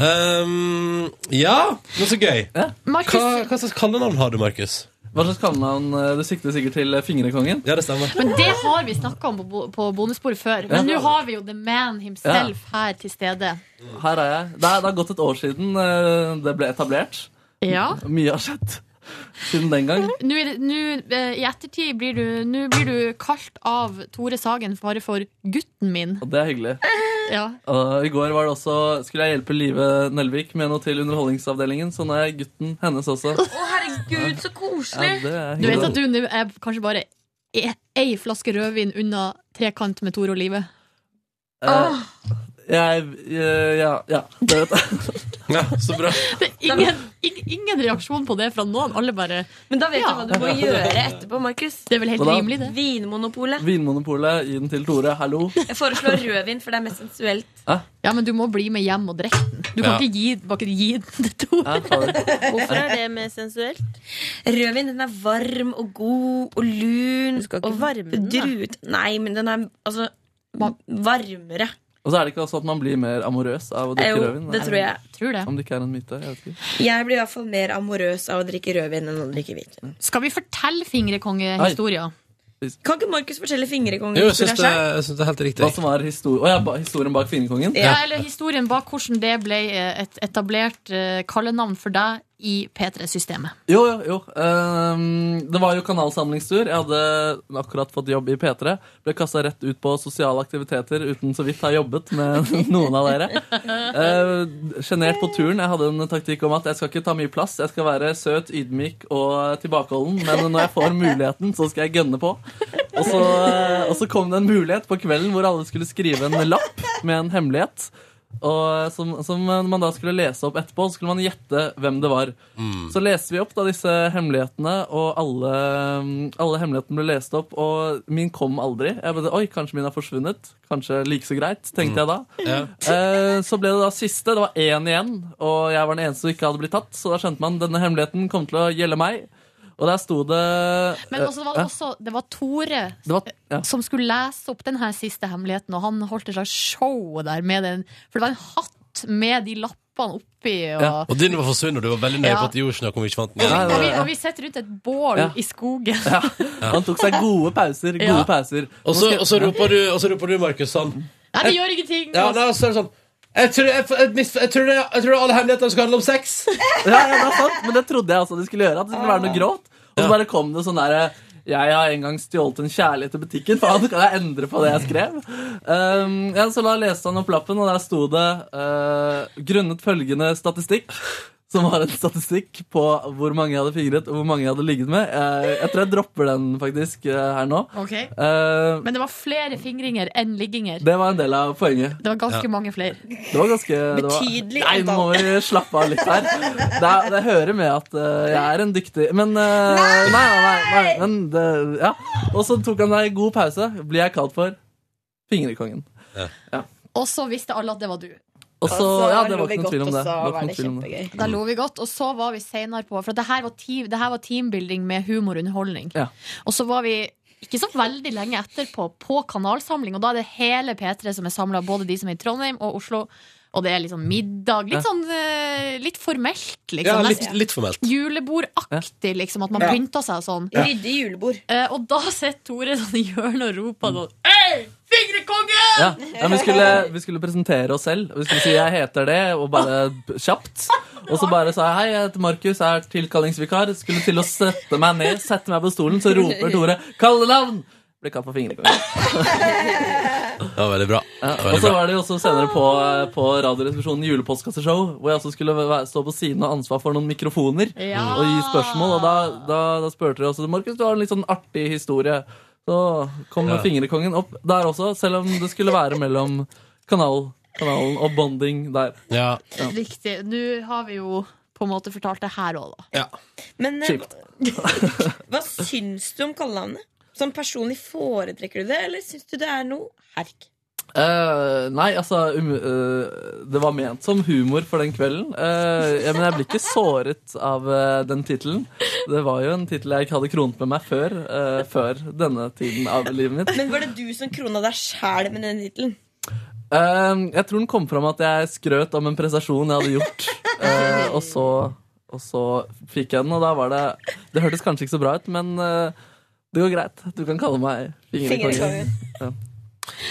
Um, ja, men så gøy. Hva, hva slags kallenavn har du, Markus? Hva slags kallenavn? eh, Du sikter sikkert til eh, Fingrekongen? Ja, det stemmer. Men det har vi snakka om på, bo- på bonussporet før. Men Ja. nå har vi jo The Man himself her til stede. Her er jeg. Det, er, det har gått et år siden eh, det ble etablert. Ja. Mye har skjedd <laughs> siden den gang. Nå, er det- nå, eh, I ettertid blir du, nå blir du kalt av Tore Sagen bare for gutten min. Og det er hyggelig. Ja. Og I går var det også, skulle jeg hjelpe Live Nelvik med noe til Underholdningsavdelingen, så nå er jeg gutten hennes også. herregud, så Ja, det er Du vet hyggelig. at du nå er kanskje bare e- ei flaske rødvin unna trekant med Tore og Live. Eh, jeg, eh, ja, ja, det vet jeg. ja, så bra. Ingen, ing- ingen reaksjon på det fra noen. Alle bare Men da vet ja. du hva du må gjøre etterpå, Markus. Det er vel helt Hva da? rimelig, det. Vinmonopolet. Vinmonopolet, gi den til Tore. Hallo. Jeg foreslår rødvin, for det er mest sensuelt. Ja, men du må bli med hjem og drikke den. Du kan Ja. ikke gi, bare ikke gi den til Tore. Hvorfor er det mer sensuelt? Rødvin den er varm og god og lun. Du skal ikke og varme den, druet. Nei, men den er altså varmere. Og så er det ikke også at man blir mer amorøs av å drikke Jo, rødvin? det tror jeg. Om det ikke er en myte. Jeg vet ikke. Jeg blir i hvert fall mer amorøs av å drikke rødvin enn å drikke hvitvin. Skal vi fortelle fingrekongehistorier? Kan ikke Markus fortelle fingerkongen? Jo, jeg synes det- Rasha? synes det er helt riktig. Hva som var histor Å ja, ba- historien bak Finnekongen? Ja, eller historien bak hvordan det ble eh, et etablert eh, kallenavn for deg i P3-systemet. Jo, jo, jo. Ehm, det var jo kanalsamlingstur. Jeg hadde akkurat fått jobb i P3. Ble kasta rett ut på sosiale aktiviteter uten så vidt å ha jobbet med <laughs> noen av dere. Eh, Sjenert på turen. Jeg hadde en taktikk om at jeg skal ikke ta mye plass. Jeg skal være søt, ydmyk og tilbakeholden, men når jeg får muligheten, så skal jeg gønne på. Og så, eh, og så kom det en mulighet på kvelden hvor alle skulle skrive en lapp med en hemmelighet. Og som, som man da skulle lese opp etterpå, så skulle man gjette hvem det var. Så leste vi opp da disse hemmelighetene, og alle, mm, alle hemmelighetene ble lest opp. Og min kom aldri. Jeg ble, Oi, kanskje min har forsvunnet. Kanskje like så greit, tenkte jeg da. Eh, så ble det da siste. Det var én igjen, og jeg var den eneste som ikke hadde blitt tatt. Så da skjønte man denne hemmeligheten kom til å gjelde meg. Og der sto det Men også, det var Ja. det også det var Tore Det var- ja. som skulle lese opp den her siste hemmeligheten, og han holdt et slags show der med den, for det var en hatt med de lappene oppi. Og, Ja. Og din var forsvunnet, og du var veldig nøye på at de gjorde ikke noe om vi ikke fant den. og, vi, og vi sitter rundt et bål Ja. i skogen. <laughs> Han tok seg gode pauser. Gode Ja. pauser. Og så, Nå skal- og så roper du, og så roper du Markus, sånn Nei, det gjør ingenting. Ja, nei, og så er det sånn jeg tror, jeg, jeg, mis- jeg, tror det, jeg tror alle hemmelighetene skal handle om sex. ja, ja, det er sant, men det trodde jeg også de skulle gjøre. At det skulle være noe grovt. Og så bare kom det sånn derre jeg har en gang stjålet en kjærlighet i butikken. Faen, kan jeg endre på det jeg skrev? Um, ja, så da leste han opp lappen, og der sto det eh, 'grunnet følgende statistikk'. Som var en statistikk på hvor mange jeg hadde fingret og hvor mange jeg hadde ligget med. Eh, Jeg, jeg tror jeg dropper den faktisk eh, her nå. Ok. Eh, Men det var flere fingringer enn ligginger. det var en del av poenget. Det var ganske Ja. mange flere. Det var ganske det var, Betydelig Nei, nå må vi slappe av litt her. Det, er- det hører med at eh, jeg er en dyktig Men eh, nei! Nei, nei, Men det, ja. Og så tok han deg god pause. Blir jeg kalt for Fingrekongen. Ja. Og så visste alle at det var du. Og så, ja, det var ikke noen tvil om det. Det var ikke noen tvil om det. Da lo vi godt, og så var vi senere på For det her var, team, det her var teambuilding med humorunderholdning. Ja. Og så var vi ikke så veldig lenge etterpå på kanalsamling, og da er det hele P3 som er samla, både de som er i Trondheim og Oslo. Og det er litt sånn middag. Ja. Litt sånn eh, litt formelt, liksom. Ja, litt, Nesten- litt formelt. Julebordaktig, liksom. At man Ja. pynter seg og sånn. Ja. Ryddig julebord. og da sitter Tore sånn i hjørnet og roper sånn Ja. Ja, men vi, skulle, vi skulle presentere oss selv. Vi skulle si 'jeg heter det', og bare b- kjapt. Og så bare sa jeg 'hei, jeg heter Markus, jeg er tilkallingsvikar'. Skulle til å sette meg ned, sette meg på stolen, så roper Tore 'kallenavn'! Ble kalt for fingrekongen. Det var veldig bra. Det var Og veldig så bra. var det jo også senere på, på Radioresepsjonen julepostkasseshow, hvor jeg også skulle væ- stå på siden og ha ansvar for noen mikrofoner Ja. og gi spørsmål. Og da, da, da spurte de også Markus, du har en litt sånn artig historie. Så kom Ja. fingrekongen opp der også, selv om det skulle være mellom kanal, kanalen og bonding der. Ja. Riktig. Nå har vi jo på en måte fortalt det her òg, da. Men eh, Kjipt. <laughs> hva syns du om kallenavnet? Sånn personlig foretrekker du det, eller syns du det er noe herk? Eh, nei, altså um, eh, Det var ment som humor for den kvelden. Eh, ja, men jeg blir ikke såret av eh, den tittelen. Det var jo en tittel jeg ikke hadde kronet med meg før, eh, før denne tiden av livet mitt. Men var det du som krona deg sjæl med den tittelen? Eh, jeg tror den kom fram at jeg skrøt om en prestasjon jeg hadde <laughs> gjort. Eh, og, så, og så fikk jeg den, og da var det Det hørtes kanskje ikke så bra ut, men eh, det går greit. Du kan kalle meg Fingerkongen. Fingerkongen. Ja.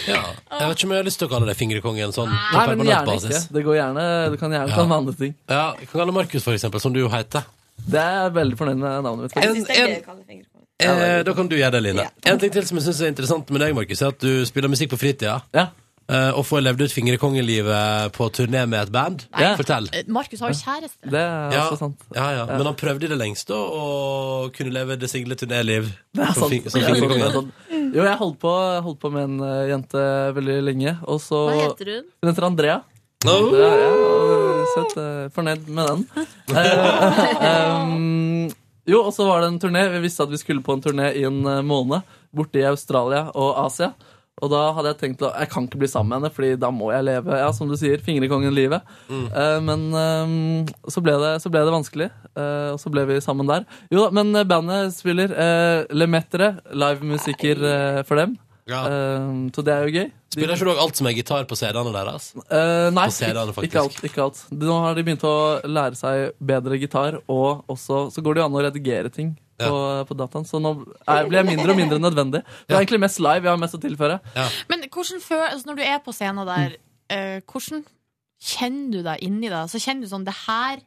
Ja. Jeg vet ikke om jeg har lyst til å kalle deg Fingrekongen. Sånn, på Nei, men permanent gjerne ikke. basis. Det går gjerne, du kan gjerne Ja. kalle meg andre ting. Ja, jeg kan kalle Markus, for eksempel, som du jo heter. Det er jeg veldig fornøyd med navnet mitt. En- en- Eh, da kan du gjøre det, Line. En ting til som jeg synes er interessant med deg, Markus, er at du spiller musikk på fritida. Eh, og får levd ut Fingrekongelivet på turné med et band. Fortell. Eh, Markus har jo kjæreste. Det er Ja. også sant. Ja, ja. Men han prøvde i det lengste å kunne leve det single turnéliv. Det er som sant. fing- som Det er sant, det er Fingrekongen. sant. Jo, jeg holdt på, holdt på med en eh, jente veldig lenge, og så Hva heter hun? Hun heter Andrea. Oh! Det er jeg, og søt, eh, fornøyd med den. Eh, em, jo, <laughs> og så var det en turné. Vi visste at vi skulle på en turné i en eh, måned, borte i Australia og Asia. Og da hadde jeg tenkt at jeg kan ikke bli sammen med henne, Fordi da må jeg leve ja, som du sier, fingrekongen-livet. Eh, men ehm, så, ble det, så ble det vanskelig, eh, og så ble vi sammen der. Jo da, men eh, bandet spiller uh, Le Metre, livemusiker eh, for dem. Ehm, så det er jo gøy. Spiller ikke du også alt som er gitar på CD-ene deres? Eh, nei, På CD-ene, ikke, faktisk. ikke alt. Ikke alt. De- Nå har de begynt å lære seg bedre gitar, og også, så går det jo an å redigere ting på, på dataen. Så nå er, blir jeg mindre og mindre nødvendig. Det er egentlig mest live jeg har mest å tilføre. Men hvordan før, altså når du er på scenen der, eh, hvordan kjenner du deg inni deg? Så kjenner du sånn, det her,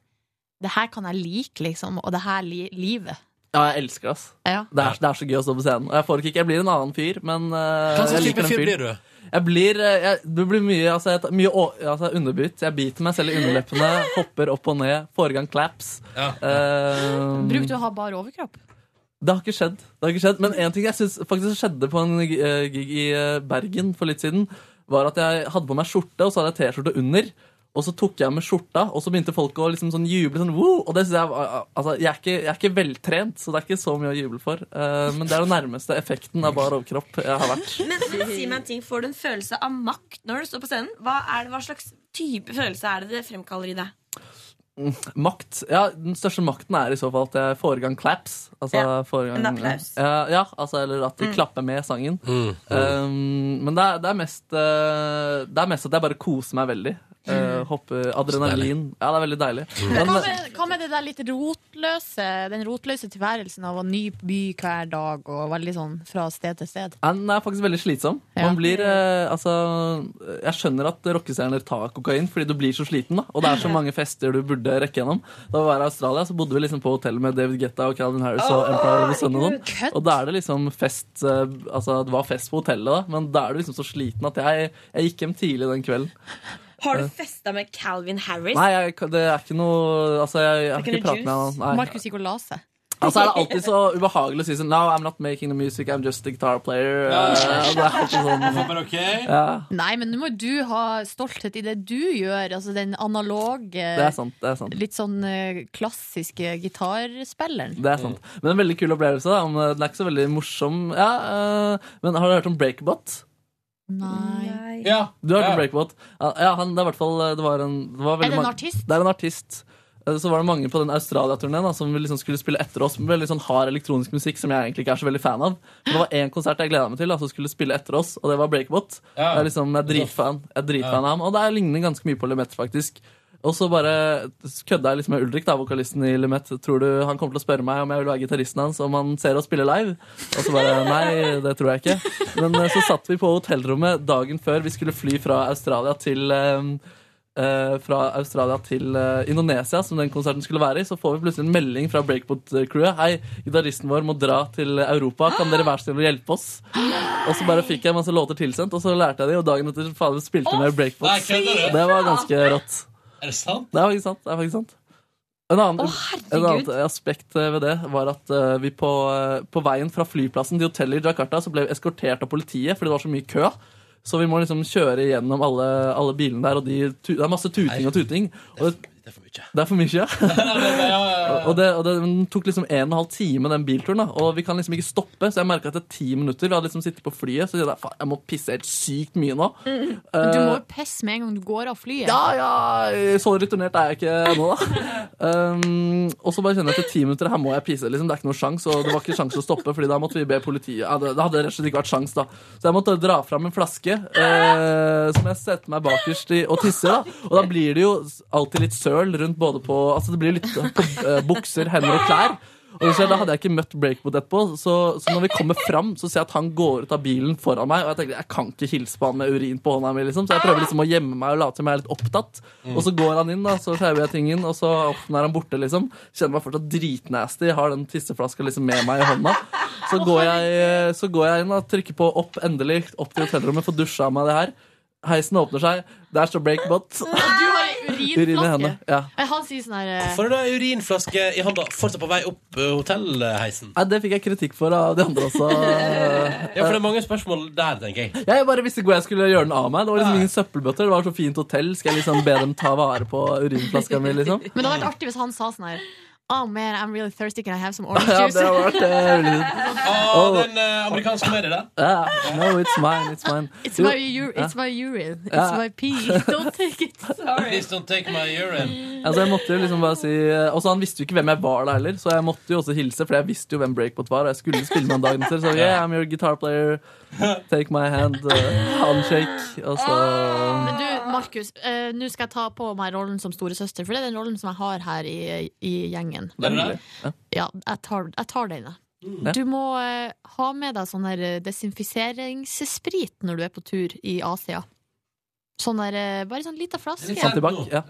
det her kan jeg like, liksom, og det her li livet. Ja, jeg elsker det. ass. Ja. Det, er, det er så gøy å stå på scenen. Og jeg får det ikke, jeg blir en annen fyr, men eh, Hva slags jeg type den fyr fyren. blir du? Jeg blir, eh, jeg, det blir mye, altså, jeg, tar- mye å, altså, underbitt. Jeg biter meg selv i underleppene, hopper opp og ned, får i gang claps. Eh, Bruker du å ha bare overkropp? Det har ikke skjedd. Det har ikke skjedd. Men en ting jeg synes faktisk skjedde på en eh, gig i eh, Bergen for litt siden, var at jeg hadde på meg skjorte, og så hadde jeg T-skjorte under. Og så tok jeg med skjorta, og så begynte folk å liksom sånn juble. sånn, Woo! Og det synes jeg var, altså, jeg, er ikke, jeg er ikke veltrent, så det er ikke så mye å juble for. Eh, men det er den nærmeste effekten av bar overkropp jeg har vært. Men, men si meg en ting, får du en følelse av makt når du står på scenen? Hva, er det, hva slags type følelse er det det fremkaller i deg? Mm, Makt. Ja, den største makten er i så fall at jeg får i gang claps. Altså, Ja, får i gang, en applaus. Ja, ja altså, eller at de Mm. klapper med sangen. mm. Um, men det er, det, er mest, eh, det er mest at jeg bare koser meg veldig. Eh, Mm. hopper adrenalin. Ja, det er veldig deilig. Mm. Men hva Men, med, hva med det der litt rotløse, den rotløse tilværelsen av å ny by hver dag, og veldig sånn fra sted til sted? Ja, Den er faktisk veldig slitsom. Man blir, eh, altså, jeg skjønner at rockestjerner tar kokain fordi du blir så sliten. da Og det er så mange fester du burde rekke gjennom. Da vi var i Australia, så bodde vi liksom på hotell med David Guetta og Calvin Harris og Empire of the Sun. Og, sånn. og da er det liksom fest eh, Altså, det var fest på hotellet, da men da er du liksom så sliten at jeg, jeg gikk hjem tidlig den kvelden. Har Eh. du festa med Calvin Harris? Nei, jeg, det er ikke noe Altså, jeg, jeg Det er har ikke ikke noe pratet med juice. han. Nei. Markus Nicolase. Altså er det alltid så ubehagelig å si sånn No, I'm not making the music, I'm just a guitar player. Ja. Eh, det er alltid sånn ja, Nei, men nå må du ha stolthet i det du gjør, altså den analoge Det er sant. Det er sant. Litt sånn eh, klassiske gitarspilleren. Det er sant. Men en veldig kul opplevelse. Da. om, eh, Den er ikke så veldig morsom. Ja, eh, men har du hørt om Breakbot? Mm. Nei. Ja, du har hørt om Breakbot? Ja, ja, han, det er i hvert fall eh, det var en, det var Er det en mange- artist? Det er en artist. Eh, Så var det mange på den Australia-turneen som liksom skulle spille etter oss med veldig sånn hard elektronisk musikk som jeg egentlig ikke er så veldig fan av. Men det var én konsert jeg gleda meg til, da, som skulle spille etter oss, og det var Breakbot. Ja. Jeg, er liksom, jeg er dritfan, jeg er dritfan av ham, og det er- ligner ganske mye på Lemaitre, faktisk. Og så bare kødda jeg liksom med Ulrik, da, vokalisten i Lemaitre. Tror du han kommer til å spørre meg om jeg vil være gitaristen hans, om han ser oss spille live? Og så bare nei, det tror jeg ikke. Men eh, så satt vi på hotellrommet dagen før vi skulle fly fra Australia til eh, eh, fra Australia til eh, Indonesia, som den konserten skulle være i, så får vi plutselig en melding fra Breakbot-crewet. Hei, gitaristen vår må dra til Europa. Kan dere være så snill å hjelpe oss? Og så bare fikk jeg masse låter tilsendt, og så lærte jeg de, og dagen etter fader, spilte jeg med Nei, Breakbot. kødder du? Det var ganske rått. Er det sant? Det er faktisk sant. Det er faktisk sant. En annen, herregud. en annet aspekt eh, ved det var at eh, vi på, eh, på veien fra flyplassen til hotellet i Jakarta så ble vi eskortert av politiet fordi det var så mye kø. Så vi må liksom kjøre gjennom alle, alle bilene der, og de, tu- det er masse tuting og tuting. Og det er for mye. Det er for mye, <laughs> ja. og det, og det den tok liksom en og en halv time, den bilturen. da Og vi kan liksom ikke stoppe, så jeg merka etter ti minutter Vi hadde liksom sittet på flyet, så jeg, sa, "Faen, jeg må pisse helt sykt mye nå. Men Du må Eh, jo pisse med en gang du går av flyet. ja, ja, så returnert er jeg ikke nå, da. Um, og så bare kjenner jeg etter ti minutter her må jeg pise. Liksom. Det er ikke noe sjans, og det var ikke sjans å stoppe, Fordi da måtte vi be politiet. Ja, det, det hadde rett og slett ikke vært sjans, da. Så jeg måtte dra fram en flaske eh, som jeg setter meg bakerst i og tisser. da Og da blir det jo alltid litt søl rundt både på Altså det blir litt på eh, bukser, hender og klær. Og så Da hadde jeg ikke møtt Breakboot etterpå, så, så når vi kommer fram, så ser jeg at han går ut av bilen foran meg. Og jeg tenker jeg kan ikke hilse på han med urin på hånda mi, liksom. Så jeg prøver liksom å gjemme meg og late som jeg er litt opptatt. Og så går han inn, da, så skjærer jeg tingen, og så opp, nå er han borte, liksom. Kjenner meg fortsatt dritnasty, har den tisseflaska liksom med meg i hånda. Så går jeg, eh, så går jeg inn og trykker på opp, endelig, opp til hotellrommet, får dusja av meg det her. Heisen åpner seg, der står Breakbot. Du <laughs> har ei Urin i urinflaske. henne. Ja. Eh, Han sier sånn her eh, Hvorfor er det urinflaske i hånda fortsatt på vei opp eh, hotellheisen? Nei, det fikk jeg kritikk for av de andre også. Ja, for det er mange spørsmål der, tenker jeg. Jeg bare visste ikke hvor jeg skulle gjøre den av meg. Det var liksom ingen søppelbøtter. Det var så fint hotell. Skal jeg liksom be dem ta vare på urinflaska mi, liksom? Men det hadde vært artig hvis han sa sånn her Oh man, I'm really thirsty, can I have some orange Ja, juice? det har vært eh, veldig fint. Å, den eh, amerikanske med i det. Ah, no, it's mine, it's mine. <laughs> It's Jo, my, ur it's ja. my urine. It's Ja. my <laughs> pee. Don't take it. Sorry. Please don't take my urine. Altså jeg måtte jo liksom bare si Og så han visste jo ikke hvem jeg var da heller, så jeg måtte jo også hilse, for jeg visste jo hvem Breakbot var, og jeg skulle spille med han dagen etter. Så yeah, I'm your guitar player, take my hand, uh, handshake, og så Men du, Markus, eh, nå skal jeg ta på meg rollen som storesøster, for det er den rollen som jeg har her i, i gjengen. Nemlig. Ja. Ja, jeg tar, jeg tar den, jeg. Ja. Du må eh, ha med deg sånn her eh, desinfiseringssprit når du er på tur i Asia. Sånn der, eh, bare sånn lita flaske. Antibac. Ja.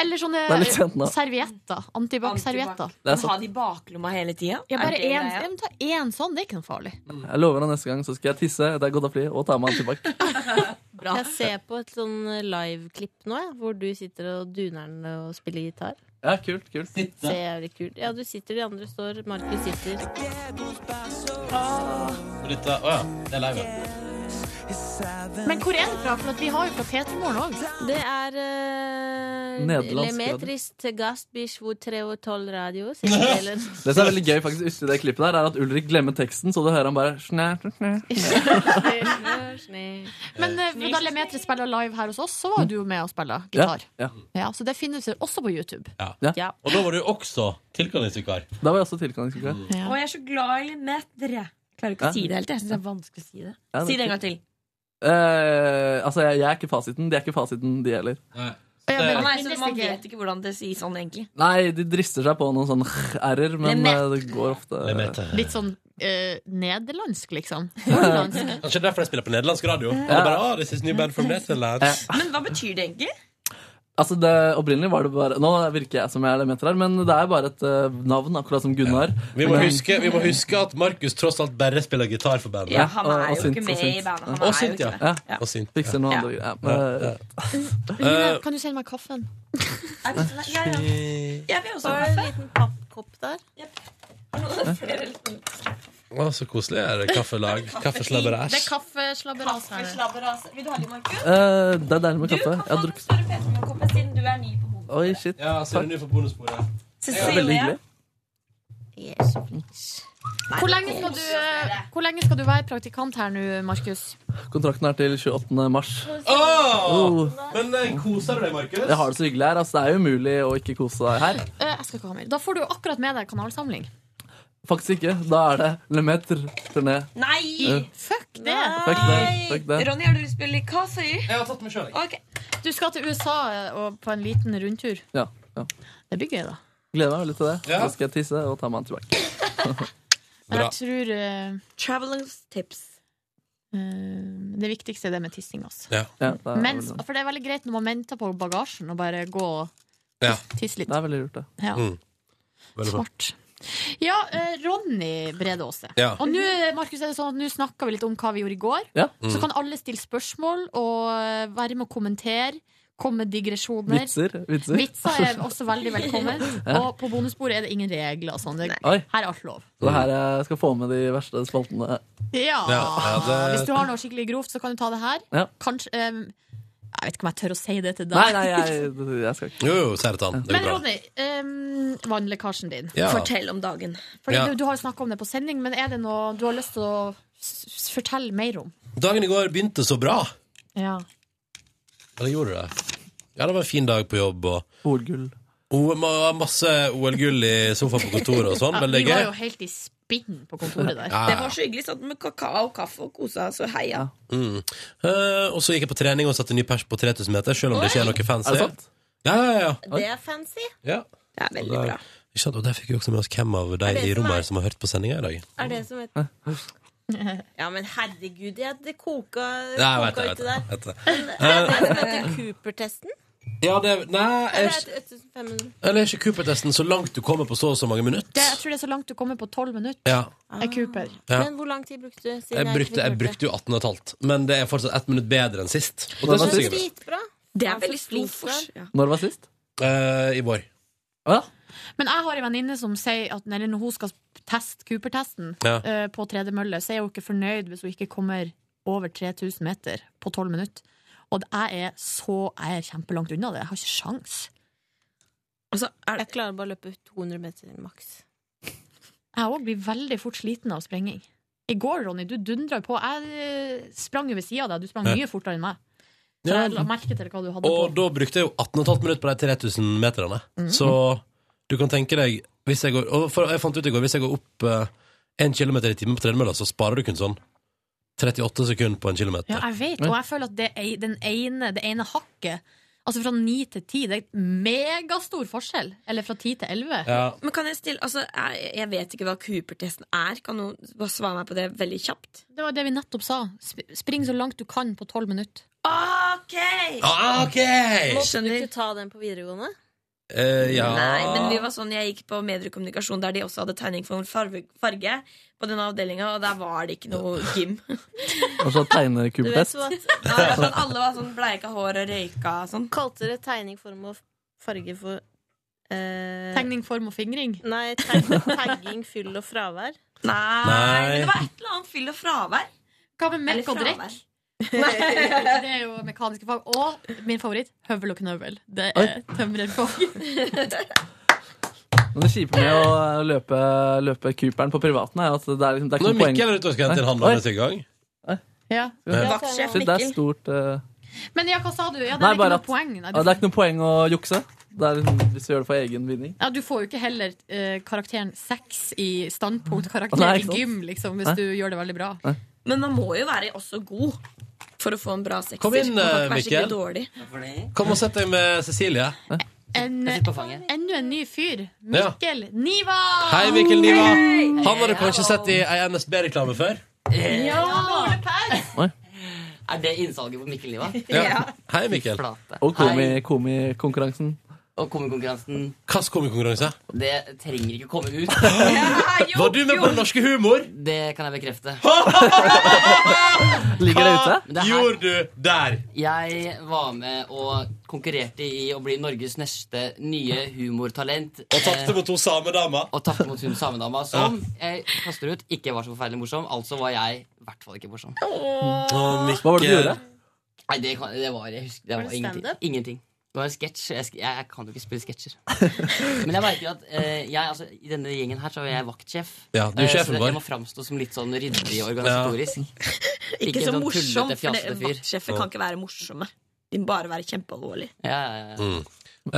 Eller sånne Det er litt sent nå. servietter. Antibac-servietter. Det er sant. Ha de i baklomma hele tida? Ja, bare én ja, men ta én sånn, det er ikke noe farlig. Jeg lover deg neste gang så skal jeg tisse etter jeg har gått av flyet, og ta med antibac. Jeg ser på et sånn eh, liveklipp nå, jeg, hvor du sitter og duner den og spiller gitar. Ja, kult, kult. Ser jævlig kult Ja, du sitter, de andre står, Markus sitter. Og dette, å ja, det er live. ja. Men hvor er det fra? For at vi har jo fra P3morgen òg. Det er uh, Nederlandsk radio. <laughs> Det som er veldig gøy faktisk uti det klippet der, er at Ulrik glemmer teksten, så du hører han bare snæ, snæ, snæ. Men eh, da Lemetri spiller live her hos oss, så var du jo med og spilte gitar. Ja, Ja, så det finnes jo også på YouTube. ja. ja. Og da var du også tilkallingsvikar. Da var jeg også tilkallingsvikar. Og jeg er så glad i limetere. Klarer ikke å Ja. si det helt. Jeg syns det er vanskelig å si det. Ja, det er si det en kult. gang til. Eh, altså, jeg, jeg er ikke fasiten. De er ikke fasiten, de heller. Å nei, så men det sånn man stikker. vet ikke hvordan det sies sånn, egentlig. Nei, de drister seg på noen sånne r-er, men eh, det går ofte Litt sånn eh, nederlandsk, <laughs> liksom. Kanskje det er derfor jeg spiller på nederlandsk radio. Ja. Bare, ah, this is new band from Netherlands. Men hva betyr det egentlig? Altså, det, Opprinnelig var det bare Nå virker jeg som jeg er elementer her, men det er bare et eh, navn, akkurat som Gunnar. Vi må, Men- huske, vi må huske at Markus tross alt bare spiller gitar for bandet. Ja, han er jo ikke med i bandet. Han Og er jo synt, ikke ja. det. Ja. Og synt. Fikser noe andre greier. Ja. Eh, Line, kan du sende meg kaffen? sånn? Ja, ja. Jeg vil også ha en liten pappkopp der. Å, så koselig er det. Kaffelag. Kaffeslabberæsj. Det er altså. kaffeslabberas her. altså? Vil du ha litt, Markus? Eh, det er deilig med kaffe. Jeg har drukket siden du er ny på hodet. Oi, shit. Ja, så er det ny for bonusbordet. Ja, veldig hyggelig. Hvor lenge, skal du, eh, hvor lenge skal du være praktikant her nå, Markus? Kontrakten er til 28. mars. Åh! Oh, Men eh, koser du deg, Markus? jeg har det så hyggelig her. Altså, det er jo umulig å ikke kose seg her. Eh, Jeg skal ikke ha mer. Da får du jo akkurat med deg kanalsamling. Faktisk ikke. Da er det Lemeter-turné. Nei! Eh. Fuck det! Fuck det. Fuck det. Ronny, har du lyst til å spille kaffe? Jeg har tatt meg sjøl, Du skal til USA eh, og på en liten rundtur. Ja, ja. Det blir gøy, da. Gleder meg veldig til det. Ja. Så skal jeg tisse og ta meg en tilbake. Men jeg tror eh, Travelers tips. eh, det viktigste er det med tissing. Altså. Ja. Ja, det er Mens, veldig bra. for det er veldig greit når man venter på bagasjen, og bare gå og Ja. tisse litt. Det er veldig lurt, det. Ja. Mm. Veldig bra. Smart. Ja, eh, Ronny Brede Aase. Ja. Og nå Markus, er det sånn at nå snakka vi litt om hva vi gjorde i går. Ja. Så kan alle stille spørsmål og eh, være med å kommentere. Komme med digresjoner. Vitser. Vitser. Vitser <laughs> er også veldig velkommen. Ja. Og på bonusbordet er det ingen regler. og Sånn. Det, Oi. her er alt lov. Så det her jeg skal få med de verste spaltene. Ja. Ja, det- Hvis du har noe skikkelig grovt, så kan du ta det her. Ja. Kanskje eh, Jeg vet ikke om jeg tør å si det til deg. Nei, nei, jeg, jeg skal ikke. Jo, jo, si det til han. Det <laughs> Men går bra. Ronny, um, vannlekkasjen din. Ja. Fortell om dagen. Fordi Ja. du, du har jo snakka om det på sending, men er det noe du har lyst til å s- s- fortelle mer om? Dagen i går begynte så bra. Ja. Eller gjorde du det? Ja, det var en fin dag på jobb. Og OL-gull. O- ma- masse OL-gull i sofaen på kontoret <laughs> og sånn. Veldig vi gøy. var jo helt i spinn på kontoret der. Ja, ja. Det var så hyggelig. Satt med kakao og kaffe og kosa oss og heia. Mm. Eh, og så gikk jeg på trening og satte ny pers på 3000 meter, selv om det ikke er noe fancy. Er det sant? Ja, ja, ja. Det er fancy. ja. Det er veldig Og der- bra. Ikke sant? Og der fikk vi også med oss hvem av Er de det i som rommet er- her som har hørt på sendinga i dag. Er det som et Ja, men herregud, jeg, det koka, Nei, jeg vet Eh. koka det, uti jeg der. vet det. Men Er det det som heter Cooper-testen? Ja, det Nei, Eller er er ikke- det 1500? eller er ikke Cooper-testen så langt du kommer på så og så mange minutter? Det, jeg tror det er så langt du kommer på tolv minutter. Ja. Er Cooper. Ja. Men hvor lang tid brukte du? Jeg brukte, jeg brukte jo 18 15, men det er fortsatt ett minutt bedre enn sist. Og Når det var synes jeg er sist? bra. Dritbra. Det er Altså, veldig stor flink forskjell. Når var sist? Eh, I vår. Men jeg har en venninne som sier at når når hun skal teste Cooper-testen Ja. eh, på tredemølle, så er hun ikke fornøyd hvis hun ikke kommer over 3000 meter på tolv minutter. Og jeg er så Jeg er kjempelangt unna det. Jeg har ikke sjans. Altså, Jeg klarer bare å løpe 200 meter maks. Jeg òg blir veldig fort sliten av sprenging. I går, Ronny, du dundra jo på. Jeg eh, sprang jo ved sida av deg. Du sprang Ja. mye fortere enn meg. Så Ja. jeg la merke til hva du hadde Og da brukte jeg jo 18,5 minutter på de 3000 meterne. Så du kan tenke deg hvis jeg går, og for, Jeg fant ut i går hvis jeg går opp eh, en kilometer i timen på tredemølla, så sparer du kun sånn 38 sekunder på en kilometer. Ja, jeg vet, og jeg føler at det, ei- den ene, det ene hakket Altså fra ni til ti, det er megastor forskjell. Eller fra ti til elleve. Ja. Men kan jeg stille altså, jeg, jeg vet ikke hva Cooper-testen er. Kan noen bare svare meg på det veldig kjapt? Det var det vi nettopp sa. Sp- Spring så langt du kan på tolv minutter. OK! Ah, ok! Måtte du Skjønner. ikke ta den på videregående? Eh, ja. Nei, men vi var sånn, jeg gikk på mediekommunikasjon der de også hadde tegning for farge, farge på denne avdelinga, og der var det ikke noe <laughs> gym. Og så tegne Du vet kubetest. så at ja, det var sånn, Alle var sånn bleika hår og røyka og sånn. Kalte dere tegning, form og farge for eh, Tegning, form og fingring? Nei, tag- tagging, fyll og fravær. Nei, Nei. men det var et eller annet fyll og fravær. Hva med melk og drikk? <laughs> det er jo mekaniske fag. Og min favoritt, høvel og knøvel. Det er Oi. tømrerfag. <laughs> Men det kjipe med å løpe, løpe Cooperen på privaten er at det er liksom det er Nå ikke er noe poeng. Mikkel ute og skal hente inn han Oi. hans i gang. ja. Ja. Vaktsjef Shit, Det er Mikkel. stort eh, Men ja, hva sa du? Ja, det Nei, er ikke bare noe at poeng. Nei, ja, du, det er ikke noe poeng å jukse. Det er liksom, hvis du gjør det for egen vinning. ja, du får jo ikke heller eh, karakteren seks i <laughs> Nei, standpunktkarakter i ikke sant. gym, liksom, hvis Nei. du gjør det veldig bra. Men man må jo være også god for å få en bra sekser. Kom inn, Man kan ikke være Mikkel. skikkelig dårlig. Kom og sett deg med Cecilie. En, enda en ny fyr. Ja. Mikkel Niva! Hei, Mikkel Niva. Han har du kanskje sett i ei NSB-reklame før? Er det innsalget på Mikkel Liva? Hei, Mikkel. Og komi- komikonkurransen. Og komikonkurransen. Hvilken komikonkurranse? Det trenger ikke komme ut. <laughs> Var du med på Den norske humor? Det kan jeg bekrefte. Ligger det ute? Men det her- Gjorde du der? Jeg var med og konkurrerte i å bli Norges neste nye humortalent. Og tapte mot to samedama. Og tapte mot hun samedama som jeg kaster ut ikke var så forferdelig morsom. Altså var jeg i hvert fall ikke morsom. Hva var det du gjorde? Nei, det, kan, det var jeg husker, det Var var, det ingenting. stand-up? ingenting. Det var en sketsj. Jeg, sk- jeg, jeg kan jo ikke spille sketsjer. <laughs> Men jeg merker at eh, jeg, altså, i denne gjengen her så er jeg vaktsjef. Ja, du er Eh, sjefen så det- vår. jeg må framstå som litt sånn ryddig organisatorisk. Ikke, en så sånn morsom, for tullete, det- fjasete fyr. vaktsjefer kan ikke være morsomme. De må bare være kjempealvorlige. Ja, ja, ja. Mm.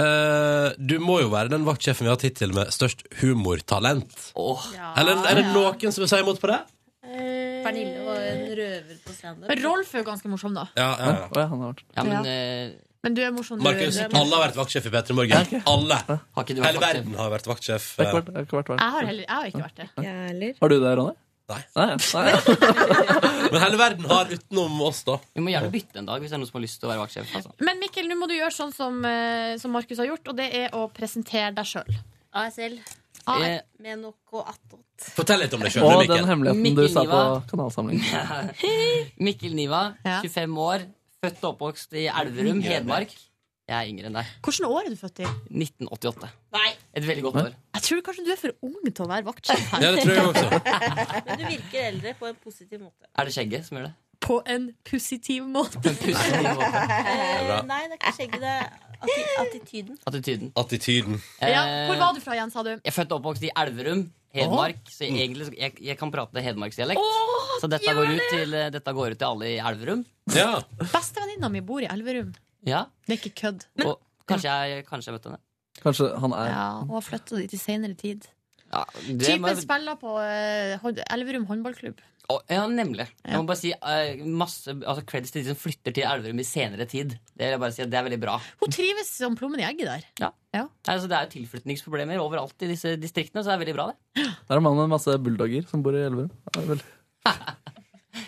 Eh, du må jo være den vaktsjefen vi har hatt hittil med størst humortalent. Ah, Eller er det noen som vil si imot på det? Pernille var en røver på standup. Rolf er jo ganske morsom, da. Ja, ja, ja. Ja, men, Ja. eh, Men du er morsom, du. Markus, du er alle morsom. har vært vaktsjef i P3 Morgen. Alle. ikke du vært Hele vaktsjef? verden har vært vaktsjef. Jeg har ikke vært- jeg har ikke vært Jeg har heller jeg har ikke vært det. Har du det, Ronny? Nei. Nei, <laughs> nei. eh, Men hele verden har utenom oss, da. Vi må gjerne bytte en dag hvis det er noen som har lyst til å være vaktsjef. Altså. Men Mikkel, nå må du gjøre sånn som, eh, som Markus har gjort, og det er å presentere deg sjøl. ASL. Eh, Med noe attåt. Fortell litt om deg sjøl. Og den hemmeligheten du Mikkel sa på Niva. kanalsamling. <laughs> Mikkel Niva, 25 år, født og oppvokst i Elverum, Yngre enn Hedmark. Jeg er yngre enn deg. Hvilket år er du født i? 1988. Et veldig godt år. Jeg tror kanskje du er for ung til å være vaktsjef her. Ja, det tror jeg også. Men du virker eldre på en positiv måte. Er det skjegget som gjør det? På en positiv <laughs> måte. Eh, bra. nei, det er ikke skjegget, det er atti attityden. Attityden. Attityden. Ja, hvor var du fra igjen, sa du? Jeg er født og oppvokst i Elverum, Hedmark. Så jeg, egentlig, så- jeg, jeg kan prate hedmarksdialekt. Åh, så dette gjør går, ut det! til, eh, dette går ut til alle i Elverum. Ja. Bestevenninna mi bor i Elverum. ja. Det er ikke kødd. Og kanskje jeg, kanskje jeg møtte henne. Kanskje han er Ja, og har flytta dit i seinere tid. Ja, det må Typen jeg- spiller på eh, hå- Elverum håndballklubb. Å, ja, nemlig. Jeg må bare si eh, masse altså, creds til de som flytter til Elverum i senere tid. Det vil jeg bare si at det er veldig bra. Hun trives som plommen i egget Ja. der. Altså, det er jo tilflytningsproblemer overalt i disse distriktene, så det er veldig bra, det. Der er mannen med masse bulldogger som bor i Elverum. Det er veldig-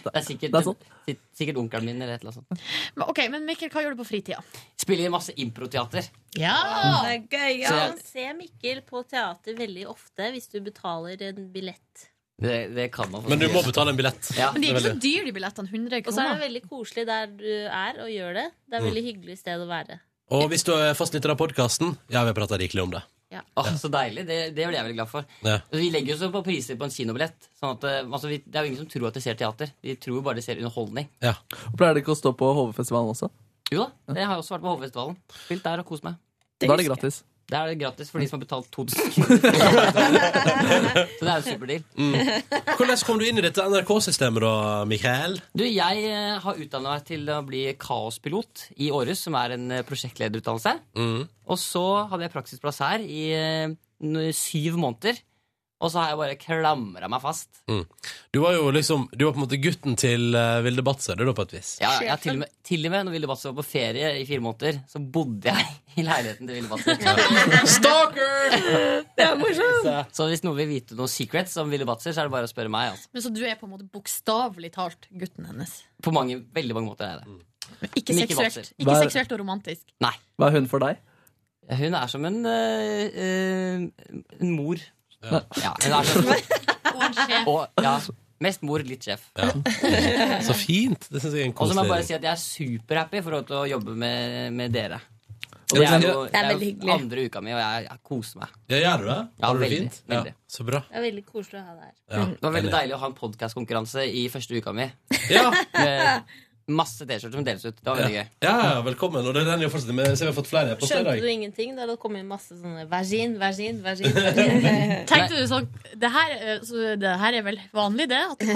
Det er sikkert, si- sikkert onkelen min eller et eller annet sånt. Men, ok, men Mikkel, hva gjør du på fritida? Spiller i masse improteater. Det er gøy, ja. Så jeg- Man ser Mikkel på teater veldig ofte hvis du betaler en billett. Det, det kan man Men du må betale en billett. Men de er ikke så dyre, de billettene. 100 Og så er kroner. det veldig koselig der du er og gjør det. Det er Mm. et veldig hyggelig sted å være. Og hvis du er fastlytter av podkasten, ja, vi har prata rikelig om det. Ja. Åh, så deilig. Det, det blir jeg veldig glad for. Altså, Ja. Vi legger jo så på priser på en kinobillett. Sånn at, eh, altså, vi, det er jo ingen som tror at de ser teater. De tror bare de ser underholdning. Og Pleier det ikke å stå på HV-festivalen også? Jo da, jeg har jo også vært på Hovefestivalen. Spilt der og kost meg. Da er det gratis. Da er det gratis for de som har betalt <laughs> 2000 kroner. Så det er jo en superdeal. Hvordan kom du inn i dette NRK-systemet, da, Mikael? Du, jeg eh, har utdanna meg til å bli kaospilot i Århus, som er en eh, prosjektlederutdannelse. Mm. Og så hadde jeg praksisplass her i eh, n- syv måneder. Og så har jeg bare klamra meg fast. Mm. Du var jo liksom Du var på en måte gutten til eh, Vilde Batzer, du, da, på et vis. Ja, ja, til, og med, til og med når Ville Batzer var på ferie i fire måneder, så bodde jeg <laughs> i leiligheten til Ville Batzer. <laughs> Stalker! Det er morsomt! Så, så hvis noen vil vite noen secrets om Ville Batzer, så er det bare å spørre meg. Altså. Men Så du er på en måte bokstavelig talt gutten hennes? På mange, veldig mange måter er jeg det. Ikke Men seksuelt, Batzer. ikke seksuelt og romantisk. Nei. Hva er hun for deg? Hun er som en, eh, eh, en mor. Ja. hun er som Og, ja, mest mor, litt sjef. Så fint. Det syns jeg er en Og så må jeg bare koselig si at jeg er superhappy for å få lov til å jobbe med, med dere. Og det er- jo- Det er veldig jo hyggelig. andre uka mi, og jeg, jeg koser meg. Ja, gjør du det? Ja, Har du det veldig, fint? Ja, veldig. så bra. Det er veldig koselig å ha deg her. Ja, det var veldig enig. deilig å ha en podkastkonkurranse i første uka mi. Ja. Med masse T-skjorter som deles ut. Det var veldig gøy. Ja, ja, velkommen. Og det er den jeg fortsetter med. Så vi har fått flere på Skjønte fredag. du ingenting da det kom inn masse sånne vagin, vagin, vagin? vagin. Tenkte du sånn det her, er- så det her er vel vanlig, det? At det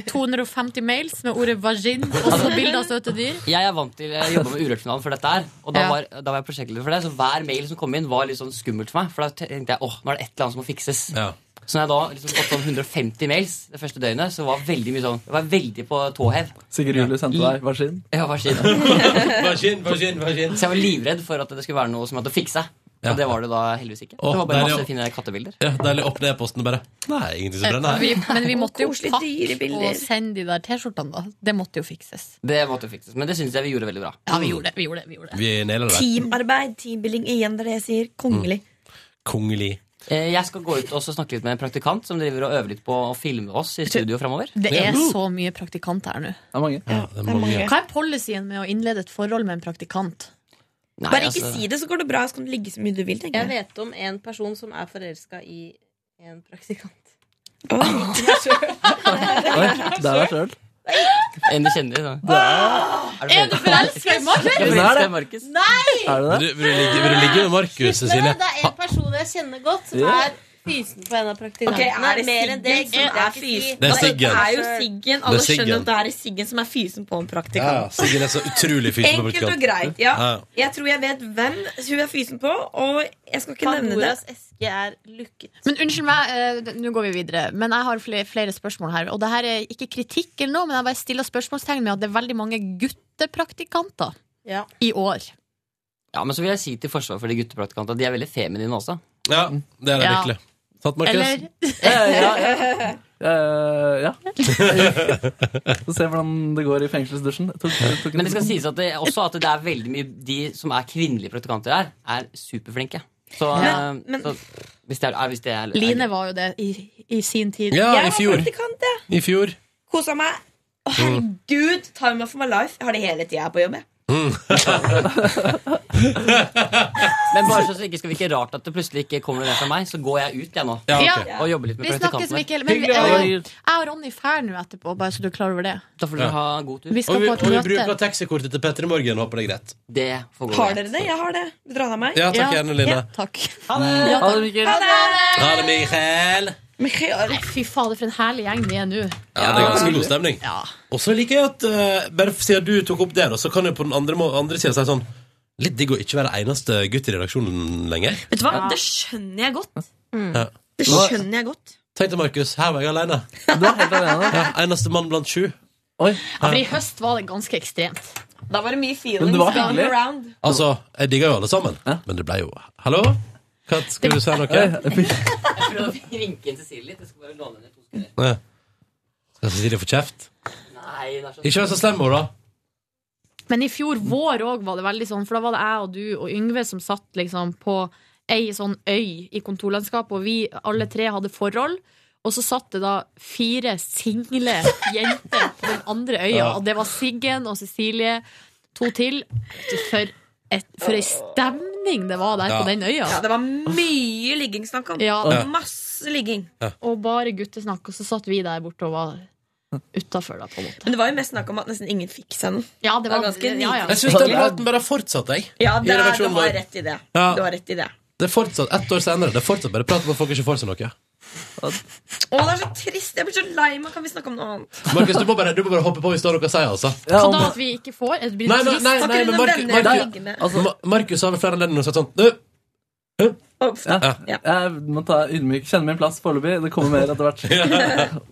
kommer 250 mails med ordet 'vagin' og så bilder av søte dyr? Jeg er vant til Jeg jobba med Urørt-finalen før dette her. Og da Ja. var, da var jeg prosjektleder for det, så hver mail som kom inn, var litt sånn skummelt for meg. For da tenkte jeg åh, nå er det et eller annet som må fikses. Så når jeg da liksom fått sånn 150 mails det første døgnet, så var veldig mye sånn Jeg var veldig på tå hev. Sigurd Julie sendte deg hver sin? Ja, vær sin. Vagin, vagin, vagin. Så jeg var livredd for at det skulle være noe som hadde fiksa. Og det var det da heldigvis ikke. Åh, det var bare deilig, masse ja. fine kattebilder. Ja, deilig opp ned-posten bare. Nei, ingenting som brenner Vi, her. men vi måtte jo Koselig pakke dyrebilder. og sende de der T-skjortene, da. Det måtte jo fikses. Det måtte fikses, men det syns jeg vi gjorde veldig bra. Ja, vi gjorde det. Vi gjorde det, vi gjorde det. Vi nailer det. Teamarbeid, teambuilding igjen, det er det jeg sier. Kongelig. Mm. Kongelig. Eh, Jeg skal gå ut og så snakke litt med en praktikant som driver og øver litt på å filme oss i studio fremover. Det er så mye praktikanter her nå. Det er mange. Hva er policyen med å innlede et forhold med en praktikant? Nei, altså, Bare ikke altså- si det, så går det bra. Så kan du ligge så mye du vil. tenker Jeg jeg. vet om en person som er forelska i en <laughs> praktikant. Oi, det er deg sjøl. En du kjenner, da. Det er Er du forelska i Markus? Jeg er forelsket i Markus. Nei! Er det det? Vil du ligge, vil du ligge med Markus, Men Cecilie? det er en person jeg kjenner godt, som Ja. er fysen på en av praktikantene. Ok, er det Mer enn det, så Siggen som det er er fysen? fysen. Det er Altså, Siggen. Det er jo Siggen. Alle Det er Siggen. skjønner at det er Siggen som er fysen på Ja, en ja, praktikant. Siggen er så utrolig fysen på Enkelt og praktikant. greit. Ja. Ja, ja. Jeg tror jeg vet hvem hun er fysen på, og jeg skal ikke nevne det. Pandoras eske er lukket. Men unnskyld meg, eh, d- nå går vi videre. Men jeg har flere, flere spørsmål her. Og det her er ikke kritikk eller noe, men jeg bare stiller spørsmålstegn med at det er veldig mange guttepraktikanter i år. Ja, men så vil jeg si til forsvar for de guttepraktikantene at de er veldig feminine også. Ja, det er det Ja. virkelig. Sant, Markus? Eller- Eh, ja. <laughs> Så se hvordan det går i fengselsdusjen. Jeg Tok, jeg tok <laughs> en- Men det skal sies at det, også at det er veldig mye de som er kvinnelige praktikanter her, er superflinke. Så, Ja, eh, så hvis det er, er, hvis det er Line var jo det i, i sin tid. Ja, Jeg i var fjor. praktikant, jeg. I fjor. Kosa meg. Å, Mm. herregud! Time of my life. Jeg har det hele tida jeg er på jobb, jeg. Men bare så det ikke skal virke rart at det plutselig ikke kommer noe fra meg, så går jeg ut jeg nå Ja, ok. og jobber litt med Vi snakkes, Mikkel. praktikantene. Men vi, eh, jeg og Ronny drar nå etterpå, bare så du er klar over det. Da får dere ha god tur. Vi skal og vi, på et og vi møte. bruker taxikortet til Petter i morgen. Håper det er greit. Det får Har dere det? Jeg har det. Vil dere ha meg? Ja, takk gjerne, Line. Ja. Takk. Ha det! Ja, Ha det, takk. Mikkel. Ha det. Ha det, Mikael. Nei, fy fader, for en herlig gjeng vi er nå. Ja, det er ganske god stemning. Og så liker jeg at eh, Bare siden du tok opp det, da, så kan jeg på den andre, må- andre sida si sånn Litt digg å ikke være eneste gutt i redaksjonen lenger. Vet du hva? Det skjønner jeg godt. Ja. Det Nå- skjønner jeg godt. Tenk deg, Markus, her var jeg alene. Ja, eneste mann blant sju. Ja, for i høst var det ganske ekstremt. Da var det mye Men det var hyggelig. around. Altså, jeg digger jo alle sammen, men det ble jo Hallo? Kat, skal du si noe? Skal Jeg prøvde å vinke inn Cecilie litt. Jeg skal bare låne henne to sekunder. Cecilie få kjeft? Nei, det er så Ikke vær så slem med henne, da. Men i fjor vår òg var det veldig sånn, for da var det jeg og du og Yngve som satt liksom på ei sånn øy i kontorlandskapet, og vi alle tre hadde forhold. Og så satt det da fire single jenter på den andre øya, Ja. og det var Siggen og Cecilie, to til. For, et, for ei stemning det var der Ja. på den øya! Ja, det var mye ligging snakk om. Ja. Og Masse ligging. Og bare guttesnakk, og så satt vi der borte og var utafor, da, på en måte. Men det var jo mest snakk om at nesten ingen fikk seg noe. Ja, det var- ganske ja, ja. nydelig. Jeg syns den praten bare har fortsatt, jeg. Ja, i det er, redaksjonen du har vår. rett i det. Ja. Du har rett i det. Det er fortsatt ett år senere. Det er fortsatt bare prat om at folk ikke får seg noe. Å, det er så trist! Jeg blir så lei meg. Kan vi snakke om noe annet? Markus, du må bare, du må bare hoppe på hvis du har noe å si, altså. Hva da at vi ikke får? Det Nei, nei, nei, nei men Markus, Markus, Ma- Markus har ved flere anledninger sagt sånn «Nå, Ja. Jeg må ta ydmyk Kjenne min plass foreløpig. Det kommer mer etter hvert.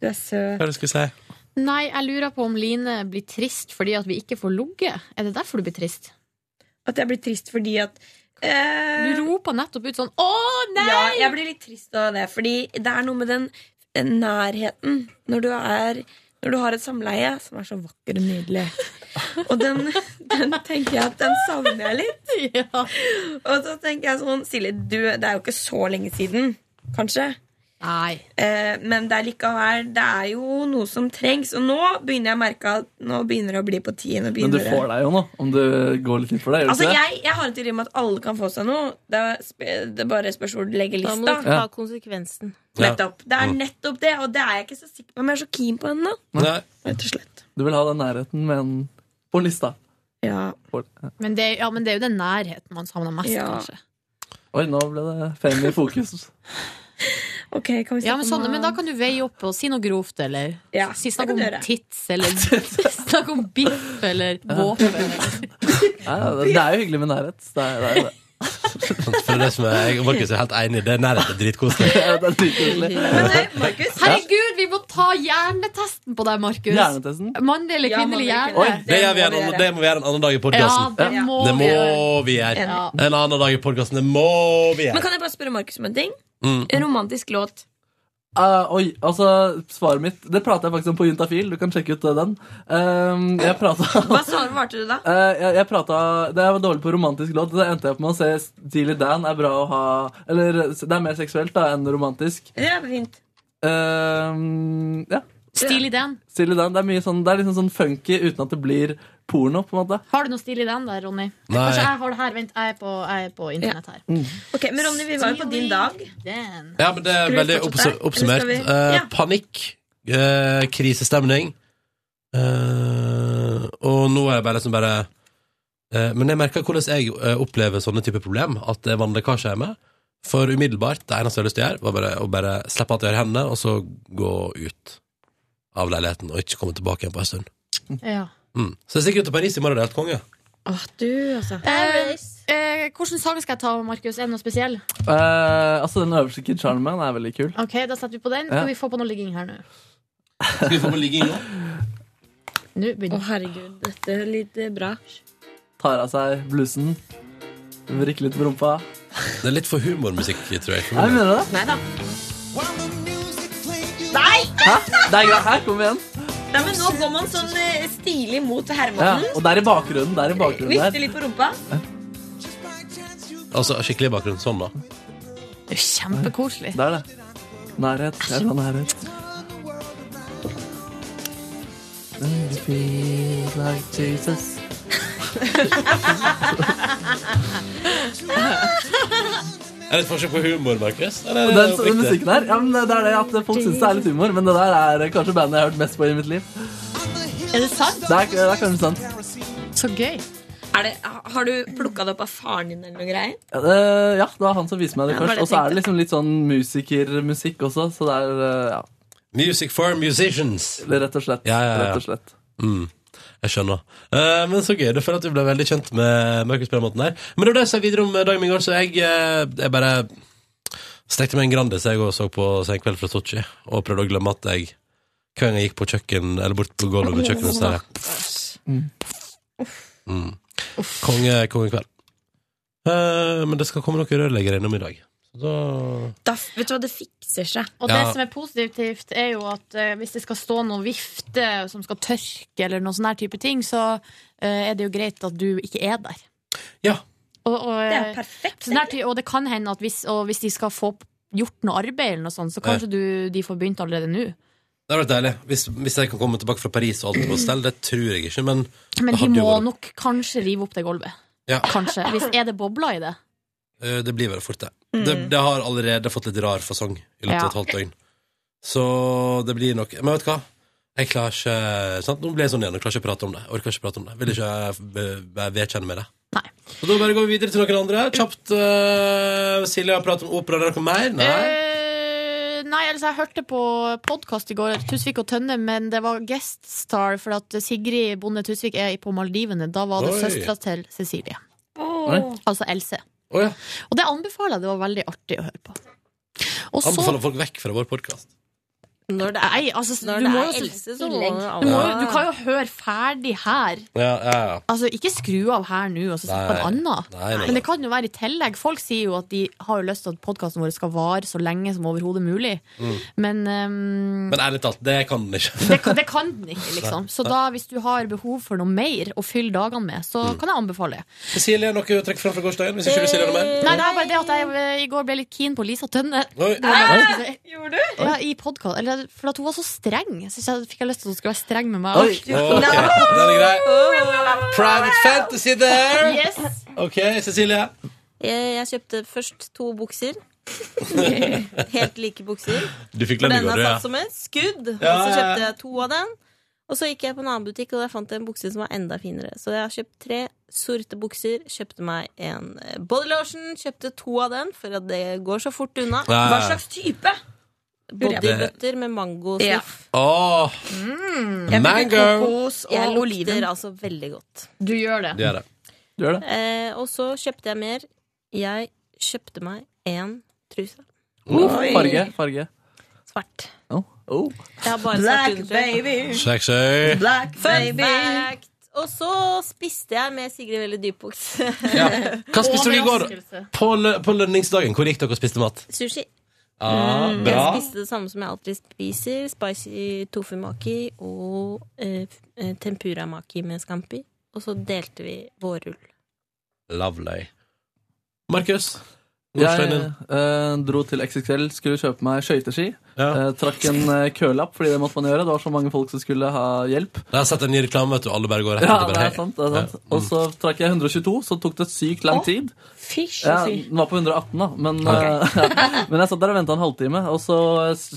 Du er Hva søt. er det du skulle si? Nei, jeg lurer på om Line blir trist fordi at vi ikke får ligget. Er det derfor du blir trist? At jeg blir trist fordi at eh, Du ropa nettopp ut sånn Å, nei! Ja, jeg blir litt trist av det. Fordi det er noe med den nærheten når du, er, når du har et samleie, som er så vakker og nydelig. Og den, den tenker jeg at den savner jeg litt. Og så tenker jeg sånn Silje, du, det er jo ikke så lenge siden, kanskje. Eh, men det er likevel Det er jo noe som trengs. Og nå begynner jeg å merke at nå begynner det å bli på tiden. Men du får deg jo nå, om du går litt inn for det. Gjør du Altså, ikke det? jeg, jeg har en teori om at alle kan få seg noe. Det er, sp det er bare spørs hvor du legger Da lista. må du ta konsekvensen. Ja. Nettopp. Det er Mm. nettopp det, og det er jeg ikke så sikker på om jeg er så keen på ennå. Rett og slett. Du vil ha den nærheten, men på lista. Ja. Men det, ja, men det er jo den nærheten man savner mest, Ja. kanskje. Oi, nå ble det femi fokus. ja, men, sånn, men da kan du veie opp og si noe grovt, eller Ja, si, det snakk kan om du gjøre. tits, eller <laughs> snakk om biff, eller våpen. Ja, ja, det det er jo hyggelig med nærhet. Det er, det er jo det. Sånn, For det som er, jeg og Markus er helt enig i, det er nærhet er dritkoselig. det er dritkoselig. Herregud, vi må ta hjernetesten på deg, Markus! Hjernetesten? Mannlig eller Ja, kvinnelig mannlig hjerne. Det, gjør vi en, annen- det må vi gjøre en annen dag i podkasten. Ja, det må det vi må gjøre. vi gjøre. Ja. En annen dag i podkasten. Det må vi Men gjøre. kan jeg bare spørre Markus om en ting? Mm. En romantisk låt. Eh, oi, altså, svaret mitt Det prater jeg faktisk om på Juntafil. Du kan sjekke ut eh, den. Eh, jeg prata Hva svaret varte du da? <laughs> Eh, jeg, jeg prata Det jeg var dårlig på romantisk låt. Da endte jeg opp med å se Steely Dan er bra å ha Eller det er mer seksuelt da enn romantisk. Det er fint. Eh, ja. Stil i den. Steely Dan. Det er, mye sånn, det er liksom sånn funky uten at det blir porno, på en måte. Har du noe stil i den der, Ronny? Nei. Kanskje jeg har det her. Vent, jeg er på, jeg er på internett her. Ok, Men Ronny, vi var jo på din dag. Ja, men det er Skal vi veldig fortsette? oppsum- oppsummert. Eller skal vi- Eh, Ja. panikk, eh, krisestemning, eh, og nå er jeg bare liksom bare eh, Men jeg merker hvordan jeg eh, opplever sånne type problem, at det er vannlekkasje hjemme. For umiddelbart, det eneste jeg har lyst til å gjøre, var bare å bare slippe at jeg har hendene, og så gå ut av leiligheten og ikke komme tilbake igjen på en stund. Ja. Mm. Så jeg stikker ut til Paris i morgen, det er helt konge. Du, altså. Eh, eh, hvilken sang skal jeg ta, Markus? Er det noe spesiell? Eh, altså, den øverste Kid Charmen er veldig kul. Ok, Da setter vi på den. Ja. Skal vi få på noe ligging her nå? Skal vi få på ligging nå? Nå begynner Å, herregud. Dette er litt eh, bra. Tar av seg blusen, vrikker litt på rumpa. Det er litt for humormusikk, tror jeg. Nei, mener du det? Nei da. Hæ? Det er greit. Her, kom igjen. Nei, men nå går man sånn eh, stilig mot Ja, Hermannen. og det er i bakgrunnen. Det er i bakgrunnen Vifter der. litt på rumpa. Altså skikkelig bakgrunn sånn, da. Det er kjempekoselig. Det er det. Nærhet. Jeg tar nærhet. And you feel like Jesus. Er det et forsøk på humor, Markus? Eller Den, er det den oppriktig? musikken der, ja, men det er det at folk syns det er litt humor, men det der er kanskje bandet jeg har hørt mest på i mitt liv. Er det sant? Det er, det er kanskje sant. Så gøy. Er det, har du plukka det opp av faren din eller noe greier? Ja, det, ja, det var han som viste meg det Ja, det var først. det Og så jeg er det liksom litt sånn musikermusikk også, så det er eh, ja. Music for musicians. Rett og slett. Ja, ja, ja. Rett og slett. Mm. Jeg skjønner. Eh, men så gøy. Det føler at vi ble veldig kjent med Markus på den måten her. Men det var det jeg sa videre om eh, dagen min i går, så jeg, eh, jeg bare stekte meg en Grandis jeg og så på Senkveld fra Sotsji, og prøvde å glemme at jeg hver gang jeg gikk på kjøkken Eller bort på gulvet ved kjøkkenet, så er jeg mm. Konge, kongekveld. Eh, men det skal komme noen rørleggere innom i dag. Så da Da, vet du hva, det fikser seg. Og Ja. det som er positivt, er jo at eh, hvis det skal stå noe vifte som skal tørke, eller noen sånne her type ting, så eh, er det jo greit at du ikke er der. Ja. Og, og, eh, Det er perfekt, sånn her ty- og det kan hende at hvis, og hvis de skal få p- gjort noe arbeid, eller noe sånt, så kanskje du, de får begynt allerede nå. Det hadde vært deilig. Hvis, hvis jeg kan komme tilbake fra Paris og alt er på stell, det tror jeg ikke, men det Men de hadde jo må vært- nok kanskje rive opp det gulvet. Ja. Kanskje. Hvis, er det bobler i det? Eh, Det blir vel fort det. Mm. det. Det har allerede fått litt rar fasong i løpet av Ja. et halvt døgn. Så det blir nok Men vet du hva? Jeg klarer ikke sant? Nå ble jeg sånn igjen. Jeg klarer ikke å prate om det. Jeg orker ikke å prate om det. Vil ikke eh, be- be- vedkjenne meg det. Så da bare går vi videre til noen andre. Kjapt, eh, Silje har pratet om opera. Er det noe mer? Nei? Eh, Nei, altså jeg hørte på podkast i går, Tusvik og Tønne, men det var guest star, for at Sigrid Bonde Tusvik er på Maldivene. Da var det Oi. søstera til Cecilie. Oi. Altså Else. Å ja. Og det anbefaler jeg. Det var veldig artig å høre på. Og så- Anbefaler folk vekk fra vår podkast. Når det er, Nei, altså, når du det må er jo- Else, så må man du, jo må, jo- alle- du kan jo høre ferdig her. Ja, ja, ja. Altså, Ikke skru av her nå og så sett på Nei. en annen. Nei, nei, nei. Men det kan jo være i tillegg. Folk sier jo at de har jo lyst til at podkasten vår skal vare så lenge som overhodet mulig. Mm. Men ehm, Men ærlig talt, det kan den <laughs> ikke. det, kan- det kan den ikke, liksom. Så da, hvis du har behov for noe mer å fylle dagene med, så Mm. kan jeg anbefale det. Cecilie, noe å trekke fram fra gårsdagen? Hvis ikke du sier noe mer? Mm, Nei, det er bare det at jeg eh, i går ble litt keen på Lisa Tønne. Oi. Det var det jeg skulle si. <laughs> Gjorde du? Ja, i podcast, eller, For at hun var så streng. Så jeg fikk jeg lyst til at hun skulle være streng med meg. Oi, ok, den er grei. Private fantasy there! Yes. OK, Cecilie. Jeg, jeg kjøpte først to bukser. <laughs> Helt like bukser. Du fikk For lønn i den går, er du, ja. satt som et skudd. Ja, Og ja, så ja. kjøpte jeg to av den. Og så gikk jeg på en annen butikk, og der fant jeg en bukse som var enda finere. Så jeg har kjøpt tre sorte bukser, kjøpte meg en eh, body lotion, kjøpte to av den, for at det går så fort unna. Ja, ja, ja. Hva slags type? Bodybutter med Ja. mangosniff. Åh, Jeg bruker Mango. kokos og Jeg oliven. lukter altså veldig godt. Du gjør det. Det er det. Du gjør det. Eh, og så kjøpte jeg mer. Jeg kjøpte meg én truse. Oh, farge. farge. Svart. Oh. Oh. Jeg har bare Black svart undertøy. baby. Sexy. Black Fun baby. fact! Og så spiste jeg med Sigrid Velle Dybbuks. <laughs> Ja. Hva spiste du i går? Overraskelse. På, lø på lønningsdagen, hvor gikk dere og spiste mat? Sushi. Ah, bra. Jeg spiste det samme som jeg alltid spiser. Spicy tofu maki og eh, f- eh, tempura maki med scampi. Og så delte vi vårrull. Lovely. Markus? Jeg Gårsdagen din? eh, dro til XXL, skulle kjøpe meg skøyteski. Eh, trakk en eh, kølapp, fordi det måtte man gjøre. Det var så mange folk som skulle ha <laughs> hjelp. Jeg har sett en ny reklame, vet du. Alle bare går rett. Ja, og det bare, er sant, det er sant. Ja. Og så trakk jeg 122, så tok det sykt lang tid. Fysj, Ja, fy. den var på 118, da. Men, Ok. eh, <laughs> men jeg satt der og venta en halvtime, og så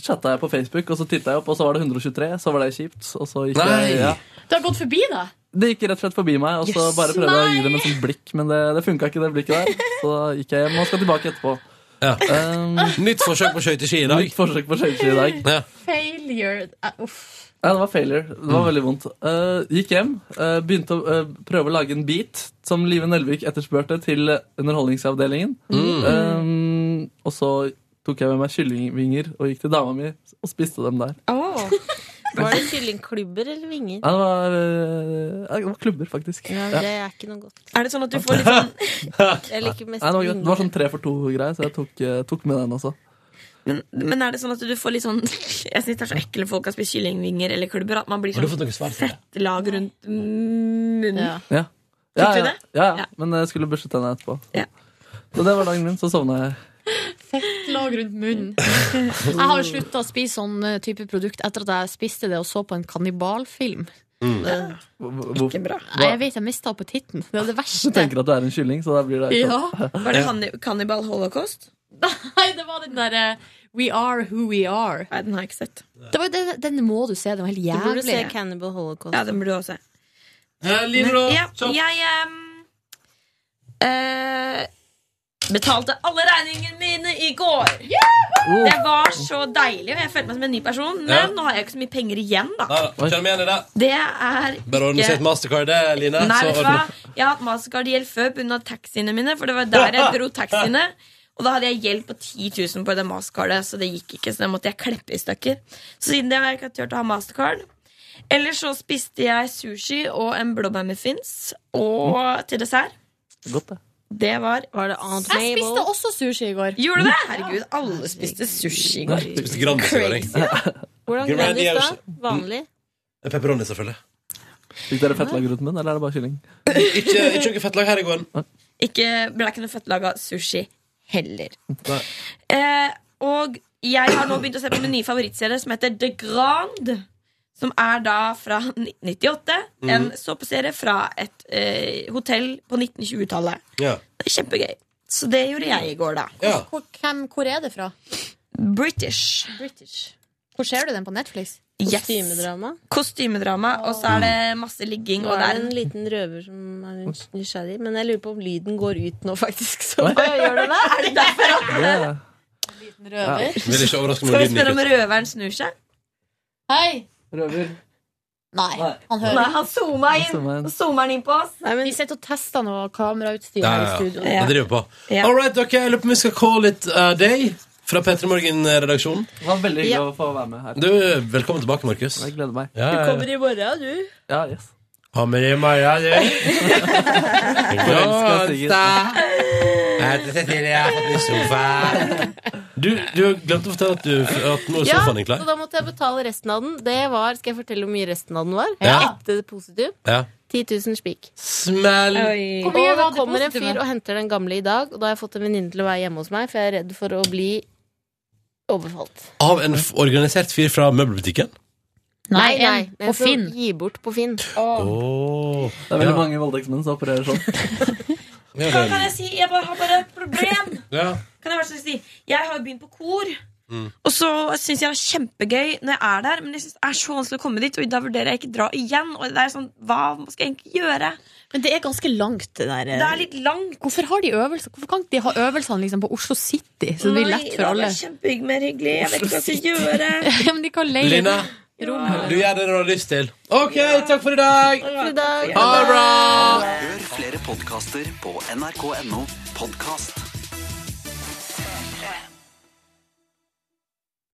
chatta jeg på Facebook, og så titta jeg opp, og så var det 123, så var det kjipt, og så gikk Nei. jeg ja. Du har gått forbi deg. Det gikk rett og slett forbi meg, og så Yes. bare prøvde jeg å gi Nei. dem et sånt blikk, men det, det funka ikke, det <laughs> blikket der. Så gikk jeg hjem og skal tilbake etterpå. Um, nytt forsøk på skøyteski i dag. Nytt forsøk på skøyteski i dag. Failure Eh, Uff. Nei, det var failure. Det var veldig vondt. Eh, gikk hjem, eh, begynte å eh, prøve å lage en beat som Live Nelvik etterspurte til Underholdningsavdelingen. Mm. Eh, og så tok jeg med meg kyllingvinger og gikk til dama mi og spiste dem der. Var det kyllingklubber eller vinger? Nei, det var, eh, det var klubber, faktisk. Ja, Ja. det er ikke noe godt. Er det sånn at du får litt <laughs> sånn Jeg liker mest Nei, det, var, greit. det var vinger. sånn tre for to-greier, så jeg tok, eh, tok med den også. Men, men er det sånn at du får litt sånn Jeg syns det er så ekkelt når folk har spist kyllingvinger eller klubber. At man blir Har du sånn fått noe svar på det? fett lag rundt munnen. Ja. Fikk Ja, du ja, det? Ja, ja. Men jeg skulle børste tennene etterpå. Ja. Så det var dagen min. Så sovna jeg. Lag rundt munnen. Jeg har slutta å spise sånn eh, type produkt etter at jeg spiste det og så på en kannibalfilm. Mm. Eh, Ikke bra. Nei, jeg vet jeg mista appetitten. Det er det Du verste. tenker at du er en kylling, så da blir det Ja. Var det Hanni- Cannibal Holocaust? <laughs> Nei, det var den derre We are who we are. Nei, den har jeg ikke sett. Det var, den, den må du se. Den var helt Du jævlig. burde se Cannibal Holocaust. Ja, den burde du også se. Eh, Ja, jeg ehm, eh, betalte alle regningene mine i går. Oh, Det var så deilig, og jeg følte meg som en ny person. Men Ja. nå har jeg ikke så mye penger igjen, da. Nei da, kjenner meg igjen i det. Det er Bare ordne seg et mastercard, det, Line. Nei, så vet du hva? ordner- Jeg har hatt Mastercard-gjeld før pga. taxiene mine. For det var der jeg dro taxiene. Og da hadde jeg gjeld på 10 000 på det Mastercardet, så det gikk ikke. Så det måtte jeg kleppe i stykker. Så siden det har jeg ikke turt å ha Mastercard. Ellers så spiste jeg sushi og en blåbærmuffins og til dessert. Godt, det. Det var Var det Jeg spiste også sushi i går. Gjorde du det? Herregud, alle spiste sushi i går. Spiste Grandis i går, jeg. Hvordan Grandis, Grandis, også- da? Vanlig? Pepperoni, selvfølgelig. Fikk dere fettlag rundt munnen, eller er det bare kylling? Ikke, ikke noe fettlag her i går. Ikke, ble ikke noe fettlaga sushi heller. Eh, og jeg har nå begynt å se på min nye favorittserie som heter The Grand. Som er da fra 1998. En Mhm. såpeserie fra et eh, hotell på 1920-tallet. Ja. Det er Kjempegøy. Så det gjorde jeg i går, da. Hvor, hvem, hvor er det fra? British. Hvor ser du den på Netflix? sånn- Yes. Kostymedrama? Kostymedrama, og så er det masse ligging. Nå Og er det er det en en liten røver som er nysgjerrig, men jeg lurer på om lyden går ut nå, faktisk. Så Oi. gjør det det? Er det derfor at Yeah. røver? Ja. Vil ikke overraske meg om Skal vi lyden spørre om gikk ut. røveren snur seg? Hei! Røver. Nei, han hører Nei, han zooma inn. zooma inn. Og zoomer han inn på oss. Vi sitter og tester noe kamerautstyr Ja, her i ja, studio. ja. Det driver på. All right, dere, jeg lurer på om vi skal call it a day fra P3 Morgen-redaksjonen. Det var veldig hyggelig Ja. å få være med her. Du, velkommen tilbake, Markus. Jeg gleder meg. Ja, ja, ja. i morgen, du. Ja, yes. Kommer i morgen, du. elsker at Onsdag. Jeg heter Cecilie, jeg heter sofaen. Du, du glemte å fortelle at, du, at nå er Ja, sofaen din så klar. da måtte jeg betale resten av den. Det var, Skal jeg fortelle hvor mye resten av den var? Ja. Etter positiv. Ja. 10 000 spik. Smell! Og det kommer en fyr og henter den gamle i dag, og da har jeg fått en venninne til å være hjemme hos meg, for jeg er redd for å bli overfalt. Av en f- organisert fyr fra møbelbutikken? Nei, nei. en den på som Finn. Gi bort på Finn. Oh. Det er veldig mange voldtektsmenn som opererer sånn. Hva kan jeg si? Jeg bare har bare et problem. Ja. Kan jeg være så snill si? Jeg har jo begynt på kor. Mm. Og så syns jeg det er kjempegøy når jeg er der, men jeg synes det er så vanskelig å komme dit. Og da vurderer jeg ikke dra igjen. Og det er sånn, hva skal jeg egentlig gjøre? Men det er ganske langt, det der. Det er litt langt. Hvorfor har de øvelser? Hvorfor kan ikke de ha øvelsene liksom, på Oslo City, så det blir lett for alle? Nei, det er kjempehygg- mer hyggelig. Jeg vet ikke hva jeg skal gjøre. <laughs> ja, men de kan leie Lina, du gjør det du har lyst til. OK, takk for i dag! For i dag. Ha det bra! Hør flere podkaster på nrk.no podkast.